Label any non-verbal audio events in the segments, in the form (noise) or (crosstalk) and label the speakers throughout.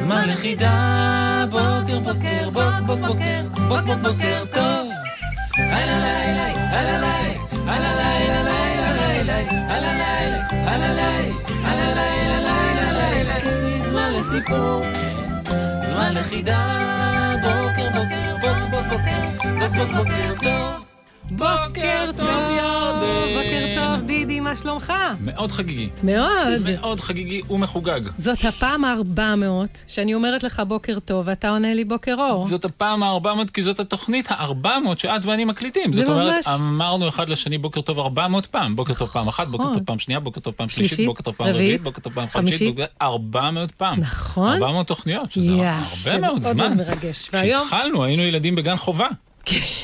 Speaker 1: זמן לחידה. בוקר, בוקר, בוק, בוק, בוקר, בוק, בוק, בוקר טוב. הלא לילה, הלא לילה, הלא לילה, לילה, לילה, הלא לילה, הלא לילה, הלא לילה, לילה, לילה, אין זמן לסיפור. זמן לחידה, בוקר בוקר בוקר בוקר בוקר בוקר טוב.
Speaker 2: בוקר טוב,
Speaker 1: ירדן.
Speaker 2: בוקר טוב, דידי, מה שלומך?
Speaker 1: מאוד חגיגי.
Speaker 2: מאוד.
Speaker 1: מאוד חגיגי ומחוגג.
Speaker 2: זאת הפעם ה-400 שאני אומרת לך בוקר טוב, ואתה עונה לי בוקר אור.
Speaker 1: זאת הפעם ה-400, כי זאת התוכנית ה-400 שאת ואני מקליטים.
Speaker 2: זה
Speaker 1: זאת אומרת,
Speaker 2: ממש-
Speaker 1: אמרנו אחד לשני בוקר טוב 400 פעם. בוקר טוב פעם אחת, בוקר
Speaker 2: נכון.
Speaker 1: טוב פעם שנייה, בוקר טוב פעם שלישית,
Speaker 2: שלישית,
Speaker 1: בוקר טוב פעם
Speaker 2: רביעית,
Speaker 1: רביעית, בוקר טוב פעם חמישית,
Speaker 2: חמישית.
Speaker 1: בוקר- 400 פעם.
Speaker 2: נכון.
Speaker 1: 400 תוכניות, שזה
Speaker 2: יפה,
Speaker 1: הרבה מאוד זמן.
Speaker 2: מאוד מרגש. והיום, כן.
Speaker 1: כשהתחלנו היינו ילדים בגן חובה.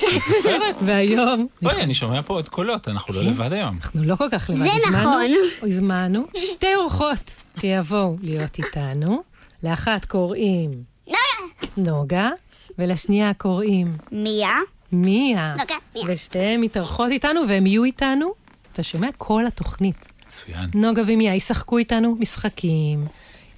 Speaker 2: (laughs) והיום,
Speaker 1: אוי, אני שומע פה עוד קולות, אנחנו לא לבד היום.
Speaker 2: אנחנו לא כל כך לבד.
Speaker 3: זה
Speaker 2: הזמנו-
Speaker 3: נכון.
Speaker 2: הזמנו שתי אורחות שיבואו להיות איתנו. לאחת קוראים נוגה, ולשנייה קוראים
Speaker 3: מיה?
Speaker 2: מיה.
Speaker 3: נוגה, מיה.
Speaker 2: ושתיהן מתארחות איתנו, והן יהיו איתנו, אתה שומע? כל התוכנית.
Speaker 1: מצוין.
Speaker 2: נוגה ומיה ישחקו איתנו משחקים,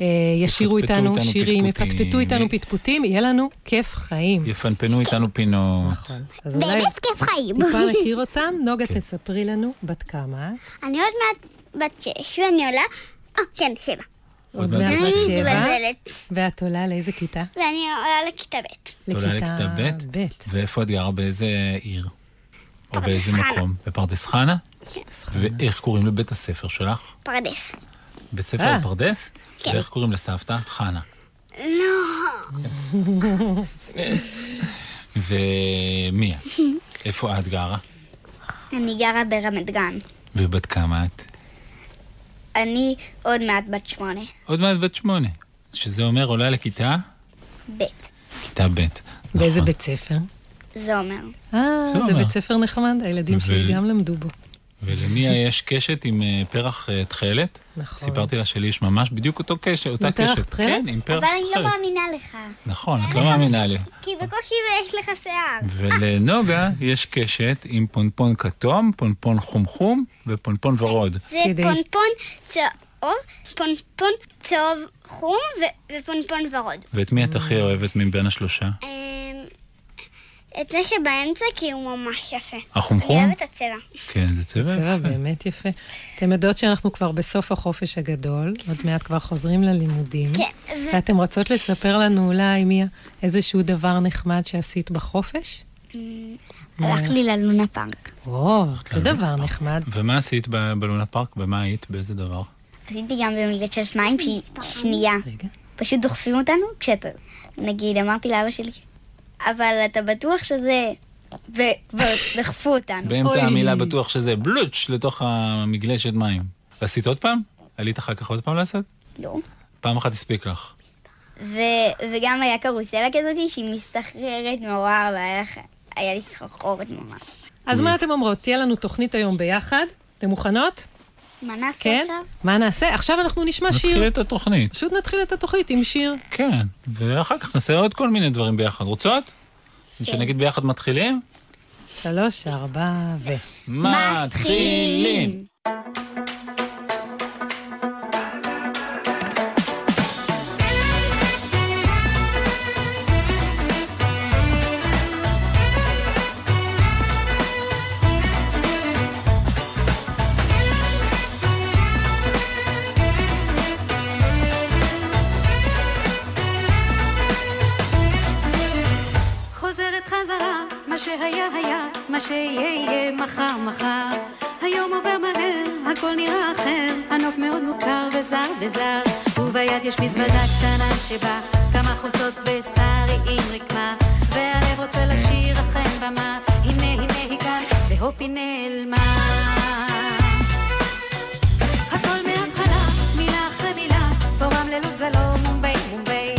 Speaker 2: אה, ישירו
Speaker 1: יפטפטו
Speaker 2: איתנו
Speaker 1: איתנו
Speaker 2: שירים,
Speaker 1: פטפוטים.
Speaker 2: יפטפטו איתנו פטפוטים, יהיה לנו כיף חיים.
Speaker 1: יפנפנו איתנו פינות.
Speaker 2: נכון. אז אולי
Speaker 3: באמת כיף חיים.
Speaker 2: טיפה נכיר אותם. נוגה,
Speaker 1: כן.
Speaker 2: תספרי לנו בת כמה.
Speaker 3: (laughs)
Speaker 2: את?
Speaker 3: אני עוד מעט בת שש ואני עולה... אה, כן, שבע.
Speaker 2: עוד
Speaker 1: מעט
Speaker 2: מעט
Speaker 1: בת שבע.
Speaker 2: בת
Speaker 3: אני
Speaker 2: שבע.
Speaker 3: מתבלבלת.
Speaker 2: ואת עולה לאיזה כיתה?
Speaker 3: ואני עולה לכיתה ב'.
Speaker 1: את עולה לכיתה ב',
Speaker 2: ב'.
Speaker 1: ואיפה את גרה? באיזה עיר? או
Speaker 3: פרדס
Speaker 1: באיזה
Speaker 3: חנה. כן.
Speaker 1: מקום? בפרדס חנה? ואיך קוראים לבית הספר שלך?
Speaker 3: פרדס.
Speaker 1: בית ספר
Speaker 2: אה.
Speaker 1: בפרדס?
Speaker 3: כן.
Speaker 1: ואיך קוראים לסבתא? חנה. (laughs) לא.
Speaker 3: (laughs)
Speaker 1: ומיה, איפה את גרה?
Speaker 3: אני גרה ברמת גן.
Speaker 1: ובת כמה את?
Speaker 3: אני עוד מעט בת שמונה.
Speaker 1: עוד מעט בת שמונה. שזה אומר עולה לכיתה?
Speaker 3: ב'.
Speaker 1: כיתה ב'.
Speaker 2: באיזה
Speaker 1: נכון.
Speaker 2: בית ספר?
Speaker 3: זה אומר.
Speaker 2: אה,
Speaker 1: זה
Speaker 2: זה
Speaker 1: אומר.
Speaker 2: בית ספר נחמד, הילדים
Speaker 1: ו-
Speaker 2: שלי גם למדו בו.
Speaker 1: ולמיה יש קשת עם אה, פרח אה, תכלת.
Speaker 2: נכון.
Speaker 1: סיפרתי לה שלי יש ממש בדיוק אותו קשת, אותה
Speaker 2: עם
Speaker 1: קשת.
Speaker 2: פרח תכלת?
Speaker 1: כן, עם פרח
Speaker 3: אבל אני לא
Speaker 1: תכלת.
Speaker 3: מאמינה לך.
Speaker 1: נכון, את לא מאמינה לי.
Speaker 3: כי בקושי יש לך שיער.
Speaker 1: ולנוגה יש קשת עם פונפון כתום, פונפון חומחום ופונפון ורוד.
Speaker 3: זה
Speaker 2: כדי-
Speaker 3: פונפון צהוב, פונפון צהוב חום ו- ופונפון ורוד.
Speaker 1: ואת מי את הכי אוהבת מבין השלושה?
Speaker 3: אמ, את זה שבאמצע כי הוא ממש יפה.
Speaker 1: החומחום?
Speaker 3: אני אוהבת את הצבע.
Speaker 1: כן, זה צבע
Speaker 2: צבע
Speaker 1: יפה.
Speaker 2: באמת יפה. אתם יודעות שאנחנו כבר בסוף החופש הגדול, עוד מעט כבר חוזרים ללימודים.
Speaker 3: כן, ו-
Speaker 2: ואתם רוצות לספר לנו אולי, מיה, איזשהו דבר נחמד שעשית בחופש?
Speaker 3: הלך לי ללונה פארק.
Speaker 2: או, זה דבר נחמד.
Speaker 1: ומה עשית ב- בלונה פארק? במה היית? באיזה דבר?
Speaker 3: עשיתי גם במילת של שמיים שהיא שנייה.
Speaker 2: רגע.
Speaker 3: פשוט דוחפים אותנו כשאתה... נגיד, אמרתי לאבא שלי, אבל אתה בטוח שזה... (laughs) ודחפו אותנו.
Speaker 1: באמצע
Speaker 2: אוי.
Speaker 1: המילה בטוח שזה בלוץ' לתוך המגלשת מים. עשית עוד פעם? עלית אחר כך עוד פעם לעשות?
Speaker 3: לא.
Speaker 1: פעם אחת הספיק לך.
Speaker 3: ו- וגם היה קרוסלה כזאת שהיא מסתחררת נורא, והיה לך- היה לי סחרחורת ממש.
Speaker 2: אז מה אתם אומרות? תהיה לנו תוכנית היום ביחד. אתם מוכנות?
Speaker 3: מה נעשה
Speaker 2: כן?
Speaker 3: (laughs) עכשיו?
Speaker 2: מה נעשה? עכשיו אנחנו נשמע
Speaker 1: נתחיל
Speaker 2: שיר.
Speaker 1: את התוכנית.
Speaker 2: פשוט נתחיל את התוכנית עם שיר.
Speaker 1: כן, ואחר כך נעשה עוד כל מיני דברים ביחד. רוצות?
Speaker 3: כן.
Speaker 1: שנגיד ביחד מתחילים?
Speaker 2: שלוש, ארבע, ו...
Speaker 1: מתחילים!
Speaker 4: חוזרת חזרה, מה שהיה היה, מה שיהיה יהיה מחר מחר. היום עובר מהר, הכל נראה אחר, הנוף מאוד מוכר וזר וזר. וביד יש מזוודה קטנה שבה כמה חולצות ושרי עם רקמה, והלב רוצה לשיר אכן במה, הנה הנה היא כאן, והופ היא נעלמה. הכל מההתחלה, מילה אחרי מילה, פה רמלה לוד זה לא מומבי מומבי.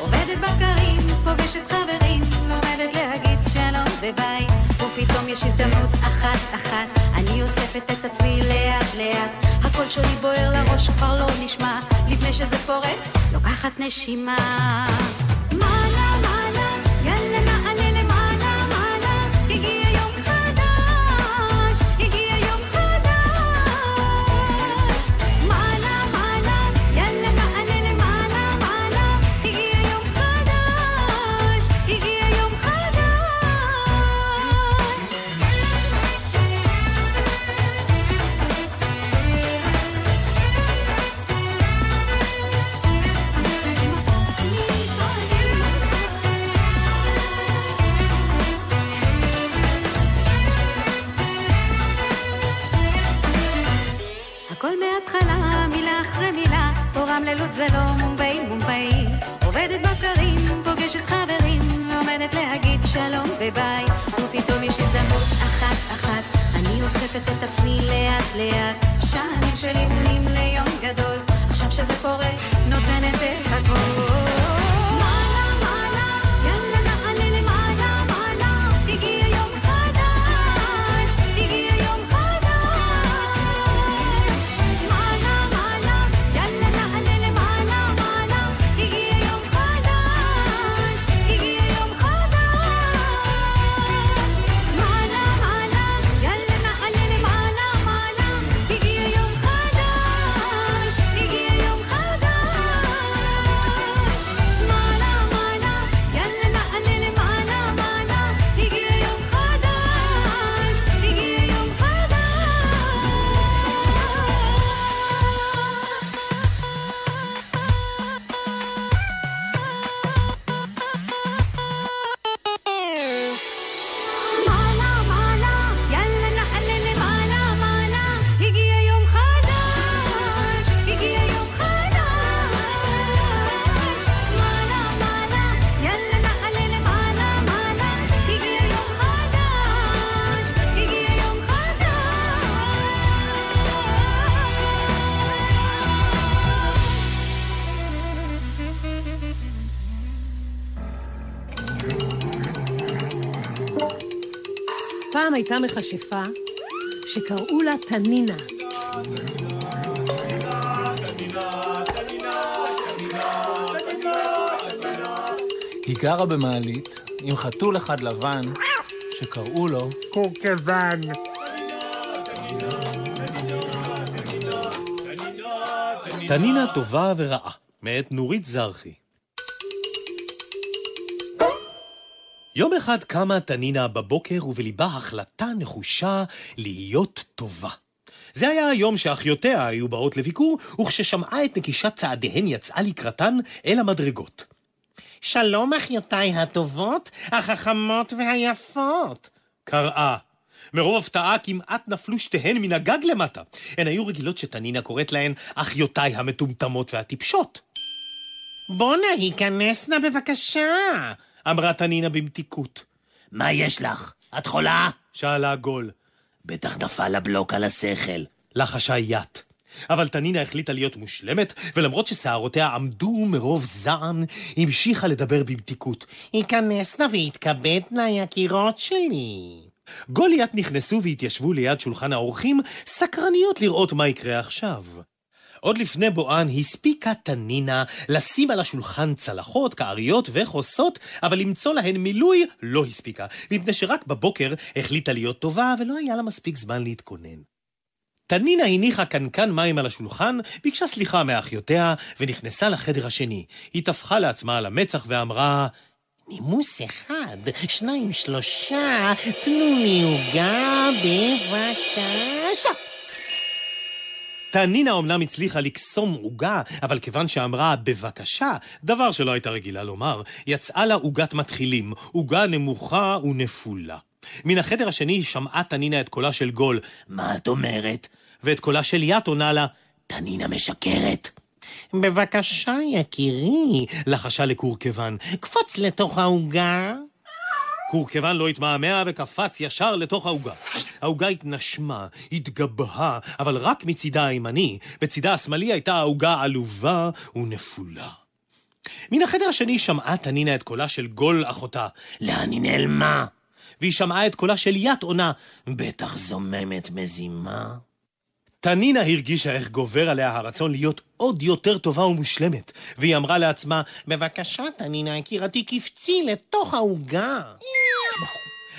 Speaker 4: אוחזת בבקרים, פוגשת חברים, לומדת להגיד שלום וביי. ופתאום יש הזדמנות אחת-אחת, אני אוספת את עצמי לאט-לאט. הקול שלי בוער לראש, כבר לא נשמע, לפני שזה פורץ, לוקחת נשימה. מעלה, מעלה, יאללה נעלה למעלה, מעלה, הגיע יום חדש, הגיע יום חדש. מעלה, מעלה, יאללה נעלה למעלה, מעלה, הגיע יום חדש, הגיע יום חדש. הכל מההתחלה, מילה אחרי מילה, פה רמלה-לוד זה לא מומבאי, מומבאי. עובדת בבקרים, פוגשת חברים, לומדת להגיד שלום וביי. ופתאום יש הזדמנות אחת-אחת, אני אוספת את עצמי לאט-לאט. שנים שלי עולים ליום גדול, עכשיו שזה פורץ, נותנת את הכל. מעלה, מעלה, יאללה נעלה למעלה, מעלה, הגיע יום חדש, הגיע יום חדש. מעלה, מעלה, יאללה נעלה למעלה, מעלה, הגיע יום חדש, הגיע יום חדש. מעלה, מעלה, יאללה נעלה למעלה, מעלה, הגיע יום חדש, הגיע יום חדש. מעלה, מעלה, יאללה נעלה למעלה, מעלה, הגיע יום חדש, הגיע יום חדש. מעלה, מעלה, יאללה נעלה למעלה, מעלה. הגיע יום חדש, הגיע יום חדש. מעלה, מעלה, יאללה נעלה למעלה, מעלה. הגיע יום חדש, הגיע יום חדש.
Speaker 2: פעם הייתה מכשפה שקראו לה תנינה.
Speaker 1: היא גרה במעלית עם חתול אחד לבן שקראו לו
Speaker 2: אוקיי,
Speaker 5: קורקוון,
Speaker 6: תנינה טובה ורעה, מאת נורית זרחי. יום אחד קמה תנינה בבוקר ובליבה החלטה נחושה להיות טובה. זה היה היום שאחיותיה היו באות לביקור, וכששמעה את נקישת צעדיהן יצאה לקראתן אל המדרגות. שלום אחיותיי הטובות, החכמות והיפות, קראה. מרוב הפתעה כמעט נפלו שתיהן מן הגג למטה. הן היו רגילות שתנינה קוראת להן אחיותיי המטומטמות והטיפשות. בואנה, היכנסנה בבקשה, אמרה תנינה במתיקות. מה יש לך? את חולה? שאלה הגול. בטח נפל הבלוק על השכל. לחשה יאט. אבל תנינה החליטה להיות מושלמת, ולמרות ששערותיה עמדו מרוב זעם, המשיכה לדבר במתיקות. היכנסנה ויתכבדנה, יקירות שלי. גוליית נכנסו והתיישבו ליד שולחן האורחים, סקרניות לראות מה יקרה עכשיו. עוד לפני בואן הספיקה תנינה לשים על השולחן צלחות, כעריות וכוסות, אבל למצוא להן מילוי לא הספיקה, מפני שרק בבוקר החליטה להיות טובה ולא היה לה מספיק זמן להתכונן. תנינה הניחה קנקן מים על השולחן, ביקשה סליחה מאחיותיה ונכנסה לחדר השני. היא טפחה לעצמה על המצח ואמרה, נימוס אחד, שניים, שלושה, תנו לי עוגה בבקשה. תנינה אומנם הצליחה לקסום עוגה, אבל כיוון שאמרה בבקשה, דבר שלא הייתה רגילה לומר, יצאה לה עוגת מתחילים, עוגה נמוכה ונפולה. מן החדר השני שמעה תנינה את קולה של גול, מה את אומרת? ואת קולה של יאט עונה לה, תנינה משקרת. בבקשה, יקירי, לחשה לקורקוון, קפוץ לתוך העוגה. קורקוון לא התמהמה וקפץ ישר לתוך העוגה. העוגה התנשמה, התגבהה, אבל רק מצידה הימני. בצידה השמאלי הייתה העוגה עלובה ונפולה. מן החדר השני שמעה תנינה את קולה של גול אחותה, לאן היא נעלמה? והיא שמעה את קולה של ית עונה, בטח זוממת מזימה. תנינה הרגישה איך גובר עליה הרצון להיות עוד יותר טובה ומושלמת, והיא אמרה לעצמה, בבקשה, תנינה יקירתי, קפצי לתוך העוגה.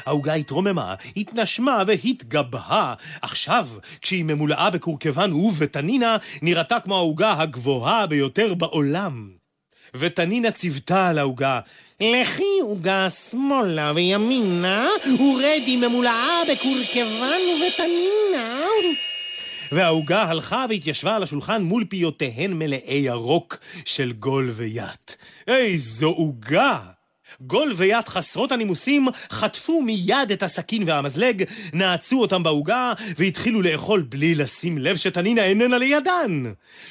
Speaker 6: העוגה התרוממה, התנשמה והתגבהה. עכשיו, כשהיא ממולאה בקורקוון ובתנינה, נראתה כמו העוגה הגבוהה ביותר בעולם. ותנינה ציוותה על העוגה, לכי עוגה שמאלה וימינה, ורדי ממולאה בקורקוון ובתנינה. והעוגה הלכה והתיישבה על השולחן מול פיותיהן מלאי ירוק של גול ויית. איזו עוגה! גול ויד חסרות הנימוסים חטפו מיד את הסכין והמזלג, נעצו אותם בעוגה והתחילו לאכול בלי לשים לב שתנינה איננה לידן.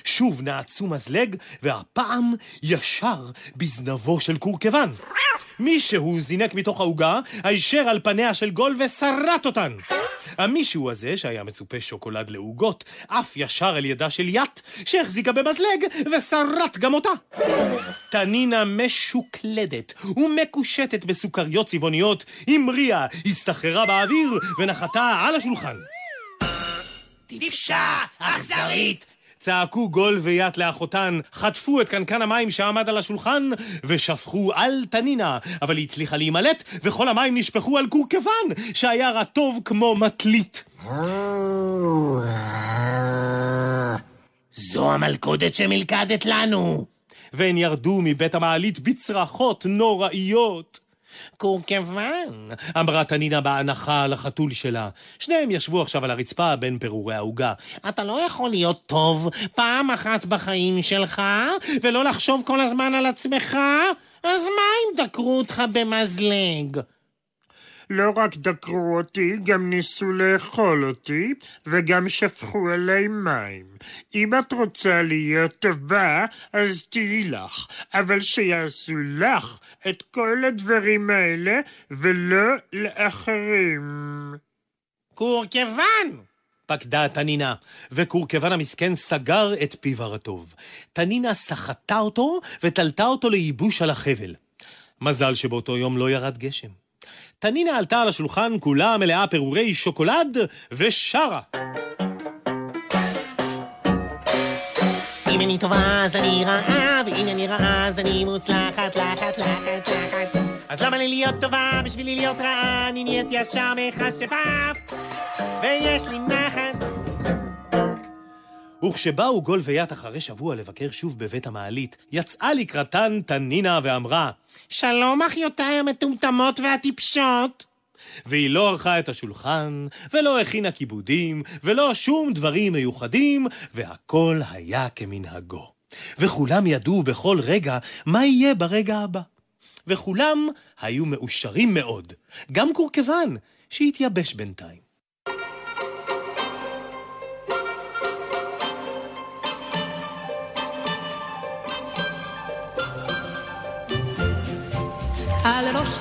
Speaker 6: שוב נעצו מזלג, והפעם ישר בזנבו של קורקוון. מישהו זינק מתוך העוגה, הישר על פניה של גול ושרט אותן. המישהו הזה, שהיה מצופה שוקולד לעוגות, עף ישר אל ידה של ית, שהחזיקה במזלג, ושרט גם אותה. תנינה משוקלדת ומקושטת בסוכריות צבעוניות, המריאה, הסתחררה באוויר ונחתה על השולחן. טיפשה! אכזרית! צעקו גול ויאת לאחותן, חטפו את קנקן המים שעמד על השולחן, ושפכו על תנינה, אבל היא הצליחה להימלט, וכל המים נשפכו על קורקוון, שהיה רטוב כמו מטלית. זו המלכודת שמלכדת לנו! והן ירדו מבית המעלית בצרחות נוראיות. קורקוון, אמרה תנינה בהנחה על החתול שלה. שניהם ישבו עכשיו על הרצפה בין פירורי העוגה. אתה לא יכול להיות טוב פעם אחת בחיים שלך, ולא לחשוב כל הזמן על עצמך, אז מה אם דקרו אותך במזלג?
Speaker 5: לא רק דקרו אותי, גם ניסו לאכול אותי, וגם שפכו עליי מים. אם את רוצה להיות טובה, אז תהיי לך, אבל שיעשו לך את כל הדברים האלה, ולא לאחרים.
Speaker 6: קורקוון! פקדה תנינה, וקורקוון המסכן סגר את פיו הרטוב. תנינה סחטה אותו ותלתה אותו לייבוש על החבל. מזל שבאותו יום לא ירד גשם. תנינה עלתה על השולחן כולה מלאה פירורי שוקולד ושרה.
Speaker 7: אם אני טובה אז אני רעה, ואם אני רעה אז אני מוצלחת, לחת, לחת, לחת. אז למה לי להיות טובה? בשבילי להיות רעה, אני נהיית ישר מכשפה, ויש לי נחת.
Speaker 6: וכשבאו גול ויד אחרי שבוע לבקר שוב בבית המעלית, יצאה לקראתן תנינה ואמרה, שלום אחיותיי המטומטמות והטיפשות. והיא לא ערכה את השולחן, ולא הכינה כיבודים, ולא שום דברים מיוחדים, והכל היה כמנהגו. וכולם ידעו בכל רגע מה יהיה ברגע הבא. וכולם היו מאושרים מאוד, גם קורקוון, שהתייבש בינתיים.
Speaker 8: על ראש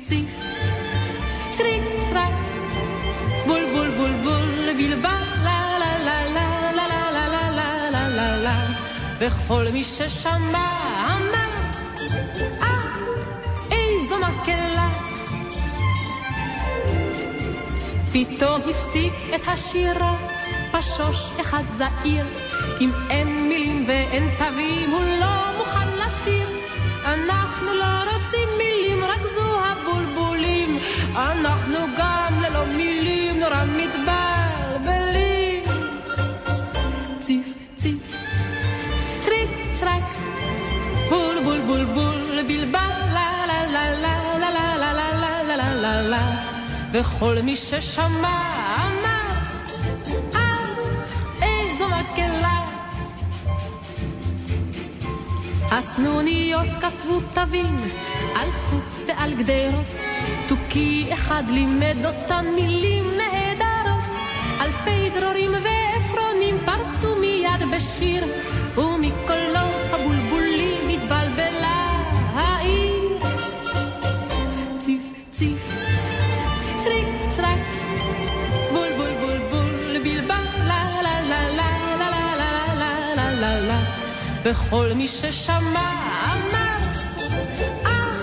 Speaker 8: ציף, שריק שרק, בול בול בול בול, בלבל לה לה לה לה לה לה לה לה לה לה לה לה וכל מי ששמע אמר, אה, איזו מקהלה. פתאום הפסיק את השירה, פשוש אחד זעיר, אם אין מילים ואין תווים, הוא לא מוכן לשיר. אנחנו לא רוצים מילים, רק זו הבולבולים. אנחנו גם ללא מילים, נורא מתבלבלים. ציף, ציף, שריק, שרק, בול, בול, בול, בול, בלבל, לה, לה, לה, לה, לה, לה, לה, לה, לה, לה, לה, לה, לה. וכל מי ששמע אמר, אה, איזו מקהלה. הסנוניות כתבו תווים על חוט ועל גדרות, תוכי אחד לימד אותן מילים נהדרות, על פי דרורים ועפרונים פרצו מיד בשיר, ומקולו הבולבולים התבלבלה העיר. ציף ציף, שריק שרק, בול בול בול בול בלבל, לה לה לה לה לה לה לה לה לה לה לה וכל מי ששמע אמר, אה,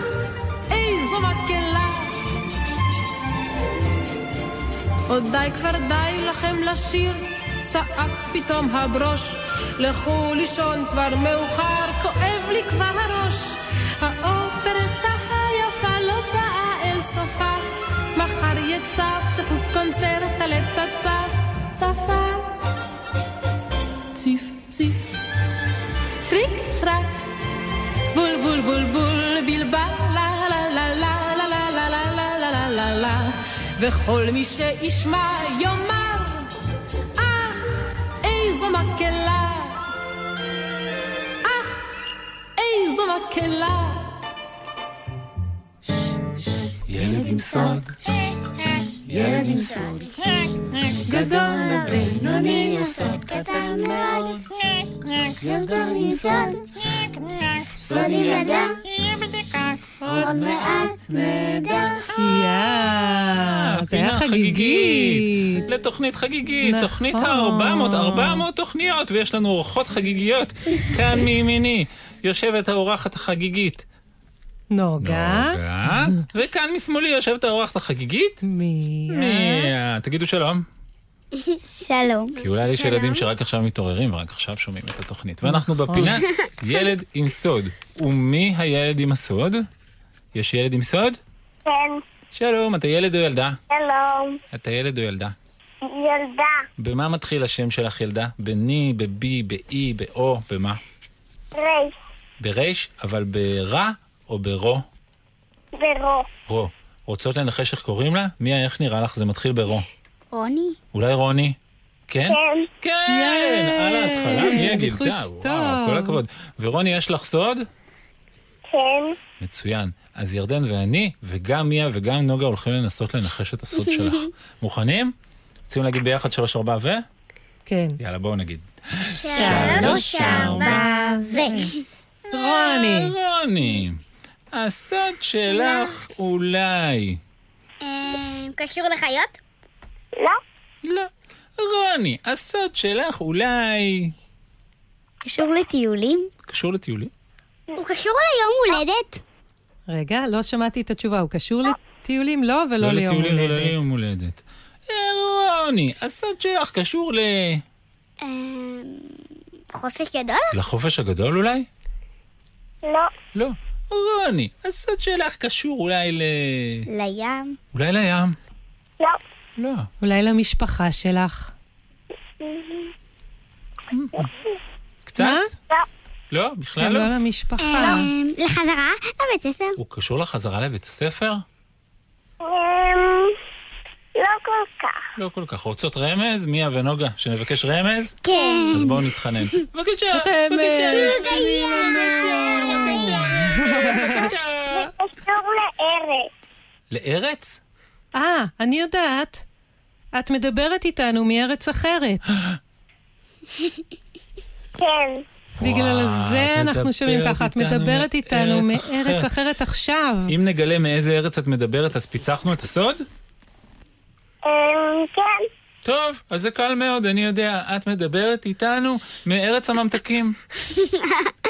Speaker 8: איזו מקהלה, עוד די כבר די לכם לשיר, צעק פתאום הברוש. לכו לישון כבר מאוחר, כואב לי כבר הראש. האופרטה היפה לא באה אל סופה, מחר יצפצפו קונצרט על עץ הצף, צפה. ציף ציף, שריק שרק, בול בול בול בול בלבל, לה לה לה לה לה לה לה לה לה לה לה לה לה וכל מי שישמע יאמר, אה, איזו מקהלה, אה, איזו מקהלה.
Speaker 1: ילד עם סוד, ילד עם סוד, גדול ובינוני הסוד קטן מאוד, ילדה עם סוד, סוד עם ידה, עוד מעט נדע.
Speaker 2: יאה, זה היה חגיגי.
Speaker 1: לתוכנית חגיגית,
Speaker 2: נכון.
Speaker 1: תוכנית ה-400, 400 תוכניות, ויש לנו אורחות חגיגיות. כאן מימיני יושבת האורחת החגיגית.
Speaker 2: נוגה.
Speaker 1: נוגה. וכאן משמאלי יושבת האורחת החגיגית.
Speaker 2: מי?
Speaker 1: מיה. תגידו שלום.
Speaker 9: שלום.
Speaker 1: כי אולי יש ילדים שרק עכשיו מתעוררים ורק עכשיו שומעים את התוכנית. ואנחנו
Speaker 2: נכון.
Speaker 3: (laughs)
Speaker 1: בפינה ילד עם סוד. ומי הילד עם הסוד? יש ילד עם סוד?
Speaker 3: כן,
Speaker 1: שלום, אתה ילד או ילדה?
Speaker 3: שלום.
Speaker 1: אתה ילד או ילדה?
Speaker 3: ילדה,
Speaker 1: במה מתחיל השם שלך ילדה? בני, בבי, באי, באו, במה?
Speaker 3: רייס,
Speaker 1: ברייש, אבל ברע או ברו?
Speaker 3: ורו,
Speaker 1: רו. רוצות לנחש איך קוראים לה? מיה, איך נראה לך? זה מתחיל ברו.
Speaker 9: רוני?
Speaker 1: אולי רוני? כן?
Speaker 3: כן,
Speaker 1: כן! על ההתחלה, מיה
Speaker 2: ניחוש
Speaker 1: גילתה,
Speaker 2: טוב.
Speaker 1: וואו, כל הכבוד. ורוני, יש לך סוד?
Speaker 3: כן,
Speaker 1: מצוין. אז ירדן ואני, וגם מיה וגם נוגה הולכים לנסות לנחש את הסוד
Speaker 9: (laughs)
Speaker 1: שלך. מוכנים? רוצים להגיד ביחד שלוש, ארבע ו?
Speaker 2: כן.
Speaker 1: יאללה, בואו נגיד.
Speaker 9: שלוש, ארבע, ו...
Speaker 2: אה, רוני.
Speaker 1: רוני, הסוד שלך
Speaker 9: לא.
Speaker 1: אולי.
Speaker 3: אה,
Speaker 9: קשור לחיות?
Speaker 3: לא,
Speaker 1: לא. רוני, הסוד שלך אולי...
Speaker 9: קשור לטיולים?
Speaker 1: קשור לטיולים?
Speaker 9: הוא קשור ליום הולדת?
Speaker 2: רגע, לא שמעתי את התשובה. הוא קשור לטיולים לא ולא ליום
Speaker 1: לטיולים ולא
Speaker 2: הולדת.
Speaker 1: ליום הולדת. אה, רוני, הסוד שלך קשור ל...
Speaker 9: אמ, חופש גדול?
Speaker 1: לחופש הגדול אולי?
Speaker 3: לא,
Speaker 1: לא. רוני, הסוד שלך קשור אולי ל...
Speaker 9: לים.
Speaker 1: אולי לים?
Speaker 3: לא,
Speaker 1: לא.
Speaker 2: אולי למשפחה שלך. אמ,
Speaker 1: קצת?
Speaker 2: מה?
Speaker 1: לא, בכלל לא.
Speaker 2: לא למשפחה.
Speaker 9: אמ, לחזרה לבית ספר.
Speaker 1: הוא קשור לחזרה לבית הספר?
Speaker 3: אמ, לא כל כך.
Speaker 1: לא כל כך. רוצות רמז? מיה ונוגה, שנבקש רמז?
Speaker 9: כן.
Speaker 1: אז בואו נתחנן. (laughs) בבקשה, בבקשה, בבקשה.
Speaker 3: קשור לארץ,
Speaker 1: לארץ?
Speaker 2: אה, אני יודעת. את מדברת איתנו מארץ אחרת.
Speaker 3: כן,
Speaker 2: בגלל זה אנחנו שומעים
Speaker 1: מדברת
Speaker 2: ככה. את
Speaker 1: איתנו
Speaker 2: מדברת איתנו
Speaker 1: מארץ
Speaker 2: מארץ
Speaker 1: אחרת.
Speaker 2: אחרת עכשיו.
Speaker 1: אם נגלה מאיזה ארץ את מדברת, אז פיצחנו את הסוד?
Speaker 10: ehm,
Speaker 3: אמ, כן,
Speaker 1: טוב, אז זה קל מאוד, אני יודע. את מדברת איתנו מארץ הממתקים.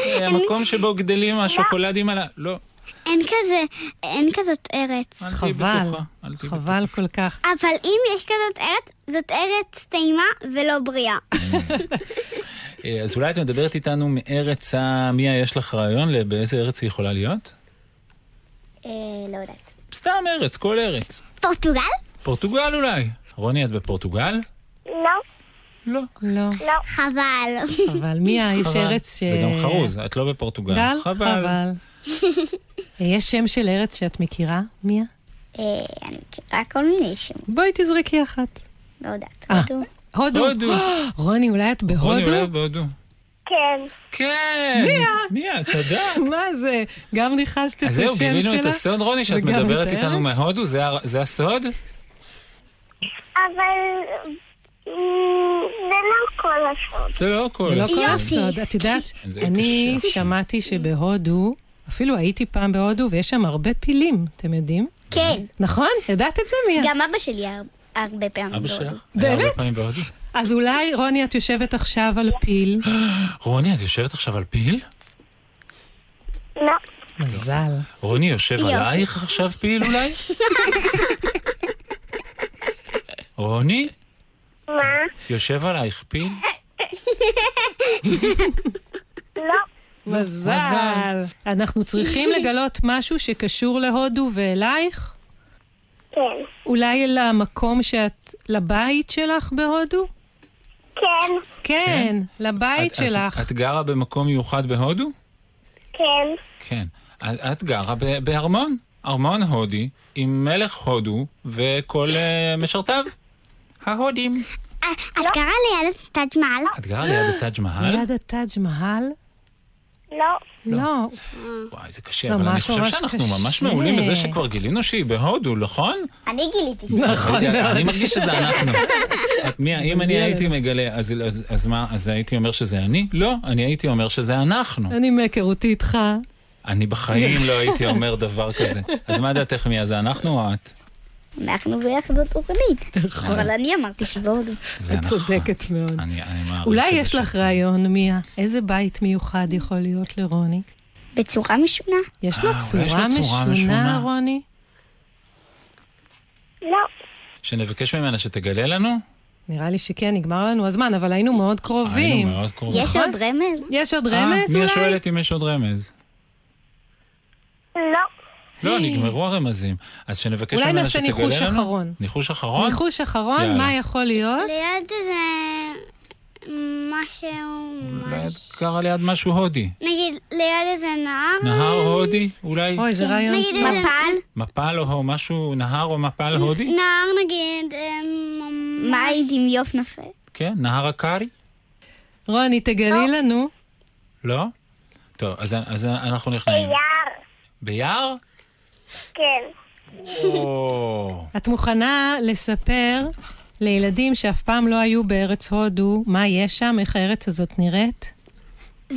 Speaker 1: זה המקום שבו גדלים השוקולדים על ה... לא,
Speaker 9: אין כזה, אין כזאת ארץ.
Speaker 1: אל תהיי
Speaker 2: חבל,
Speaker 1: בטוחה. אל תהיי בטוחה.
Speaker 2: חבל כל כך.
Speaker 9: אבל אם יש כזאת ארץ, זאת ארץ טעימה ולא בריאה.
Speaker 1: אה, אז אולי את מדברת איתנו מארץ ה... מיה, יש לך רעיון באיזה ארץ היא יכולה להיות?
Speaker 9: לא יודעת.
Speaker 1: סתם ארץ, כל ארץ.
Speaker 9: פורטוגל?
Speaker 1: פורטוגל אולי. רוני, את בפורטוגל?
Speaker 3: לא,
Speaker 1: לא.
Speaker 2: לא,
Speaker 9: חבל.
Speaker 2: חבל. מיה, יש ארץ ש...
Speaker 1: זה גם חרוז, את לא בפורטוגל.
Speaker 2: גל, חבל.
Speaker 1: (laughs)
Speaker 2: יש שם של ארץ שאת מכירה, מיה?
Speaker 9: אה, אני מכירה כל מיני שמות,
Speaker 2: בואי תזרקי אחת.
Speaker 9: לא יודעת.
Speaker 2: אה.
Speaker 9: הודו.
Speaker 2: הודו.
Speaker 1: הודו.
Speaker 2: (gasps) רוני, אולי את
Speaker 1: רוני, אולי
Speaker 2: בהודו?
Speaker 1: בהודו.
Speaker 3: כן,
Speaker 1: כן. מיה. מיה, צדקת.
Speaker 2: (laughs) מה זה? גם ניחשת את
Speaker 1: אז
Speaker 2: השם שלה?
Speaker 1: זהו, גילינו את הסוד, רוני, שאת
Speaker 2: וגם את
Speaker 1: מדברת איתנו
Speaker 2: הארץ?
Speaker 1: מהודו, זה ה- זה הסוד?
Speaker 3: אבל
Speaker 10: mm,
Speaker 3: אמ, זה לא כל
Speaker 10: (laughs)
Speaker 3: השעות.
Speaker 1: זה לא הכל.
Speaker 2: זה לא כל
Speaker 9: יופי.
Speaker 2: הסוד. את יודעת,
Speaker 1: (laughs) זה
Speaker 2: אני
Speaker 1: קשה.
Speaker 2: שמעתי שבהודו, אפילו הייתי פעם בהודו, ויש שם הרבה פילים, אתם יודעים?
Speaker 9: כן,
Speaker 2: נכון? ידעת את זה מיה?
Speaker 9: גם אבא שלי הר- הרבה פעמים
Speaker 1: אבא שלך?
Speaker 9: בהודו.
Speaker 1: היה הרבה
Speaker 2: באמת?
Speaker 1: פעמים בהודו.
Speaker 2: אז אולי, רוני, את יושבת עכשיו על פיל.
Speaker 1: רוני, את יושבת עכשיו על פיל?
Speaker 3: לא.
Speaker 2: מזל.
Speaker 1: רוני יושב
Speaker 9: יופי.
Speaker 1: עלייך עכשיו פיל אולי? רוני?
Speaker 3: מה?
Speaker 1: יושב עלייך פיל?
Speaker 3: לא.
Speaker 2: מזל. אנחנו צריכים לגלות משהו שקשור להודו ואלייך?
Speaker 3: כן.
Speaker 2: אולי למקום שאת... לבית שלך בהודו?
Speaker 3: כן.
Speaker 2: כן, לבית
Speaker 1: את-
Speaker 2: שלך.
Speaker 1: את, את גרה במקום מיוחד בהודו?
Speaker 3: כן.
Speaker 1: כן. את, את גרה ב- בארמון. ארמון הודי עם מלך הודו וכל אה, משרתיו. ההודים.
Speaker 9: אה,
Speaker 3: את קרא ליד תג' מעל?
Speaker 1: את גרה אה, ליד הטאג' מהל?
Speaker 2: ליד הטאג' מהל?
Speaker 3: לא.
Speaker 2: לא.
Speaker 1: וואי, זה קשה,
Speaker 2: ממש
Speaker 1: אבל אני חושב
Speaker 2: ממש
Speaker 1: שאנחנו
Speaker 2: קשה.
Speaker 1: ממש מעולים בזה שכבר גילינו שהיא בהודו, נכון?
Speaker 3: אני גיליתי.
Speaker 2: נכון
Speaker 1: אני-
Speaker 2: מאוד.
Speaker 1: אני מרגיש שזה אנחנו. את- מי- אם אני הייתי מגלה, אז- אז- אז מה, אז הייתי אומר שזה אני? לא, אני הייתי אומר שזה אנחנו.
Speaker 2: אני מהיכרותי איתך.
Speaker 1: אני בחיים לא הייתי אומר דבר כזה. אז מה דעתך מי זה אנחנו או את?
Speaker 9: אנחנו ביחד בתוכנית.
Speaker 1: נכון.
Speaker 9: אבל אני אמרתי שבהודו.
Speaker 1: זה
Speaker 2: את
Speaker 1: נכון.
Speaker 2: צודקת מאוד.
Speaker 1: אני אני מעריך
Speaker 2: אולי
Speaker 1: את זה
Speaker 2: יש
Speaker 1: ש-
Speaker 2: לך רעיון, מיה, איזה בית מיוחד יכול להיות לרוני?
Speaker 9: בצורה משונה?
Speaker 2: יש לו
Speaker 1: אה, אולי יש
Speaker 2: צורה
Speaker 1: לו צורה משונה.
Speaker 2: משונה, רוני?
Speaker 3: לא.
Speaker 1: שנבקש ממנה שתגלה לנו?
Speaker 2: נראה לי שכן, נגמר לנו הזמן, אבל היינו מאוד קרובים. נכון?
Speaker 1: היינו מאוד קרובים.
Speaker 9: יש עוד רמז?
Speaker 2: יש עוד
Speaker 1: אה,
Speaker 2: רמז
Speaker 1: מיה
Speaker 2: אולי?
Speaker 1: שואלת אם יש עוד רמז.
Speaker 3: לא.
Speaker 1: לא, נגמרו הרמזים. אז שנבקש
Speaker 2: אולי
Speaker 1: ממנה
Speaker 2: נעשה
Speaker 1: שתגלה לנו?
Speaker 2: ניחוש אחרון.
Speaker 1: ניחוש אחרון?
Speaker 2: ניחוש אחרון,
Speaker 1: יאללה.
Speaker 2: מה יכול להיות?
Speaker 3: ליד זה משהו...
Speaker 1: אולי את גרה ליד משהו הודי.
Speaker 3: נגיד, ליד איזה נהר?
Speaker 1: נהר הודי? אולי
Speaker 2: אוי, זה רעיון.
Speaker 3: מפל?
Speaker 1: מפל או משהו, נהר או מפל הודי?
Speaker 3: נהר נגיד... אמ,
Speaker 9: מים עם יוף נפה.
Speaker 1: כן, נהר הקארי?
Speaker 2: רוני, תגלי לנו.
Speaker 1: לא? טוב, אז- אז אנחנו נכנעים.
Speaker 3: יער.
Speaker 1: ביער?
Speaker 3: כן.
Speaker 1: או,
Speaker 2: את מוכנה לספר לילדים שאף פעם לא היו בארץ הודו, מה יש שם, איך הארץ הזאת נראית?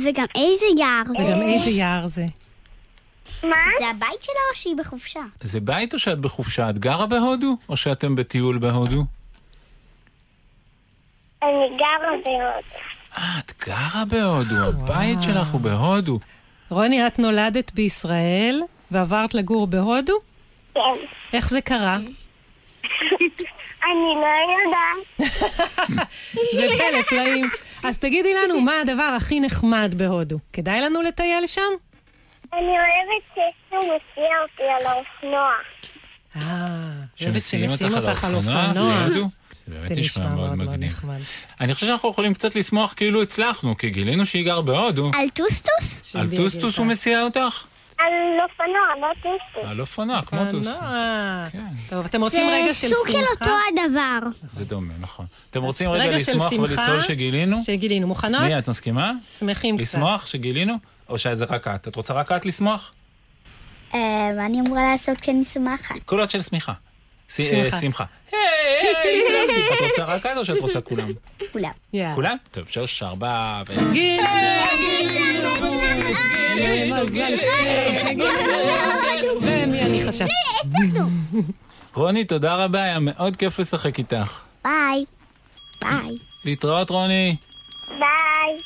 Speaker 3: וגם איזה
Speaker 9: אוקיי.
Speaker 3: יער?
Speaker 2: וגם איזה יער זה.
Speaker 3: מה?
Speaker 9: זה הבית שלה או שהיא בחופשה?
Speaker 1: זה בית או שאת בחופשה? את גרה בהודו? או שאתם בטיול בהודו?
Speaker 3: אני גרה מאוד.
Speaker 1: אה, את גרה בהודו, הבית שלך הוא בהודו.
Speaker 2: רוני, את נולדת בישראל ועברת לגור בהודו?
Speaker 3: כן.
Speaker 2: איך זה קרה?
Speaker 3: אני לא יודעת.
Speaker 2: זה פלא פלאים. אז תגידי לנו, מה הדבר הכי נחמד בהודו? כדאי לנו לטייל שם?
Speaker 3: אני אוהבת שיש לו מסיע אותי על האופנוע.
Speaker 2: אה,
Speaker 1: Cioè, שמסיעים אותך על האופנוע להודו? זה באמת נשמע מאוד מגניב. אני חושב שאנחנו יכולים קצת לשמוח כאילו הצלחנו, כי גילינו שהיא גרה בהודו.
Speaker 9: על טוסטוס?
Speaker 1: על טוסטוס אוקיי. הוא מסיע אותך?
Speaker 3: על אופנוע, לא טוסטוס.
Speaker 1: על אופנוע, כמו טוסטוס.
Speaker 2: אה, טוב, אתם רוצים רגע של שמחה? אה,
Speaker 9: הדבר.
Speaker 1: זה דומה, נכון. אתם רוצים
Speaker 2: רגע
Speaker 1: רגע
Speaker 2: של
Speaker 1: לשמוח
Speaker 2: שמחה?
Speaker 1: ולצלול שגילינו?
Speaker 2: שגילינו. מוכנות?
Speaker 1: מי, את מסכימה?
Speaker 2: שמחים קצת.
Speaker 1: לשמוח שגילינו? או שזה רק את? את רוצה רק את לשמוח?
Speaker 9: מה אני אה, אמורה לעשות כן כשאני שמחת?
Speaker 1: קולות של שמיכה. ש-
Speaker 2: שמחה.
Speaker 1: אה, שמחה. היי, היי, הצלחתי. את רוצה רק את או שאת רוצה כולם?
Speaker 9: כולם.
Speaker 2: יאללה.
Speaker 1: כולם? טוב, שלוש, ארבע, ו...
Speaker 2: גילינו, גילינו, גילינו, גילינו, גילינו. ומי אה, אני חשבתי?
Speaker 1: רוני, תודה רבה, היה מאוד כיף לשחק איתך.
Speaker 9: ביי. ביי.
Speaker 1: להתראות, רוני.
Speaker 3: ביי.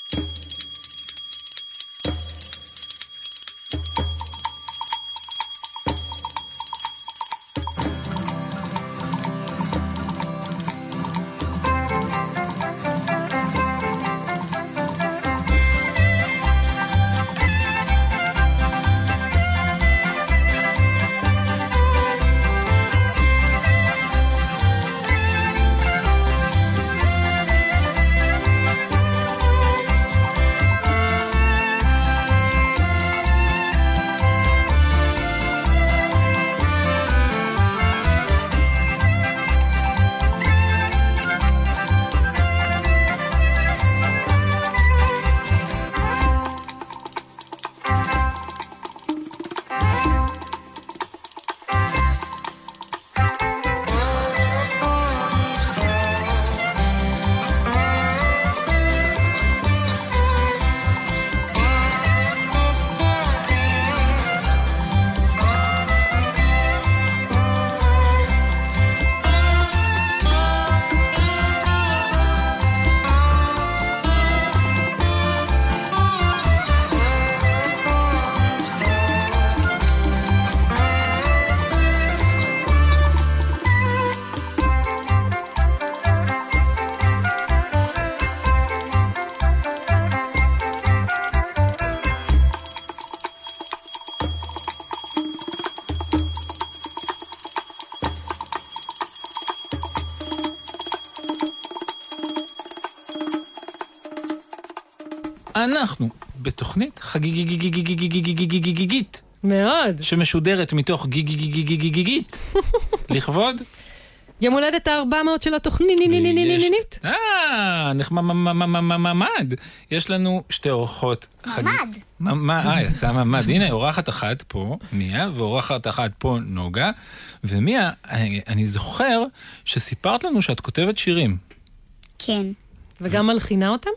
Speaker 1: אנחנו בתוכנית חגיגיגיגיגיגיגיגיגיגיגיגית,
Speaker 2: מאוד.
Speaker 1: שמשודרת מתוך גיגיגיגיגיגיגית, לכבוד...
Speaker 2: יום הולדת ה-400 של התוכנית.
Speaker 1: יש- אה, נחמד ממד. יש לנו שתי אורחות חג...
Speaker 9: ממ"ד.
Speaker 1: ממ"ד. אה, יצא ממ"ד. הנה, אורחת אחת פה, מיה, ואורחת אחת פה, נוגה. ומיה, אני- אני זוכר שסיפרת לנו שאת כותבת שירים.
Speaker 9: כן,
Speaker 2: וגם מלחינה אותם?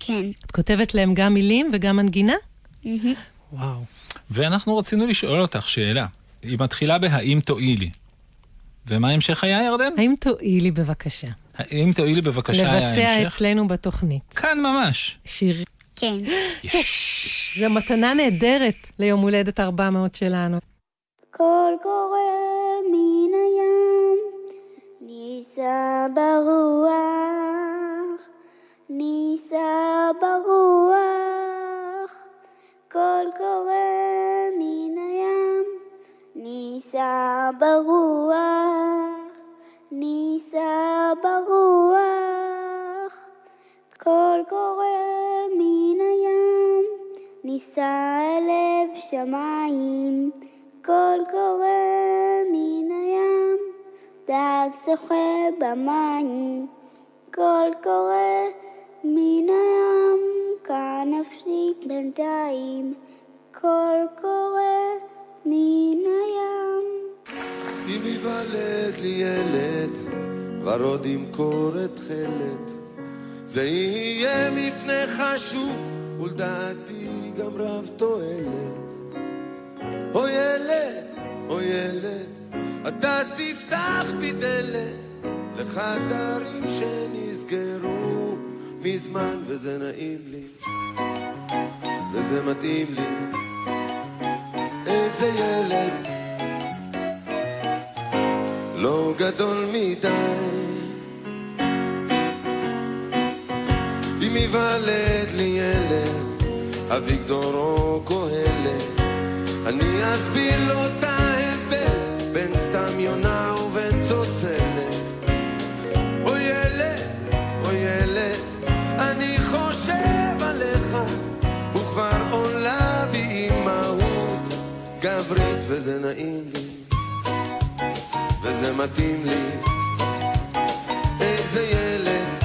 Speaker 9: כן.
Speaker 2: את כותבת להם גם מילים וגם מנגינה?
Speaker 9: מהמם.
Speaker 2: וואו.
Speaker 1: ואנחנו רצינו לשאול אותך שאלה. היא מתחילה ב"האם תואילי". ומה המשך היה, ירדן?
Speaker 2: האם תואילי בבקשה
Speaker 1: האם תואילי בבקשה היה
Speaker 2: לבצע
Speaker 1: המשך?
Speaker 2: אצלנו בתוכנית
Speaker 1: כאן ממש.
Speaker 2: שיר?
Speaker 9: כן.
Speaker 2: זו מתנה נהדרת ליום הולדת 400 שלנו.
Speaker 3: קול קורא מן הים, נישא ברוח, נישא ברוח. קול קורא מן הים, נישא ברוח, נישא ברוח. קול קורא מן הים, נישא אלף שמיים. קול קורא מן הים, דג שוחה במים. קול קורא מן הים, כאן נפסיק בינתיים. קול קורא מן הים.
Speaker 11: אם ייוולד לי ילד, ורוד ימכור את חלד. זה יהיה מפנה חשוב, ולדעתי גם רב תועלת. או ילד, או ילד, אתה תפתח בי דלת לחדרים שנסגרו מזמן, וזה נעים לי, וזה מתאים לי. איזה ילד לא גדול מדי. אם ייוולד לי ילד, אביגדור או קהלת, אני אסביר לו את ההבדל בין סתם יונה ובין צוצלת. או ילד, או ילד, אני חושב עליך, וכבר עולה בי אימהות גברית, וזה נעים לי. וזה מתאים לי. איזה ילד,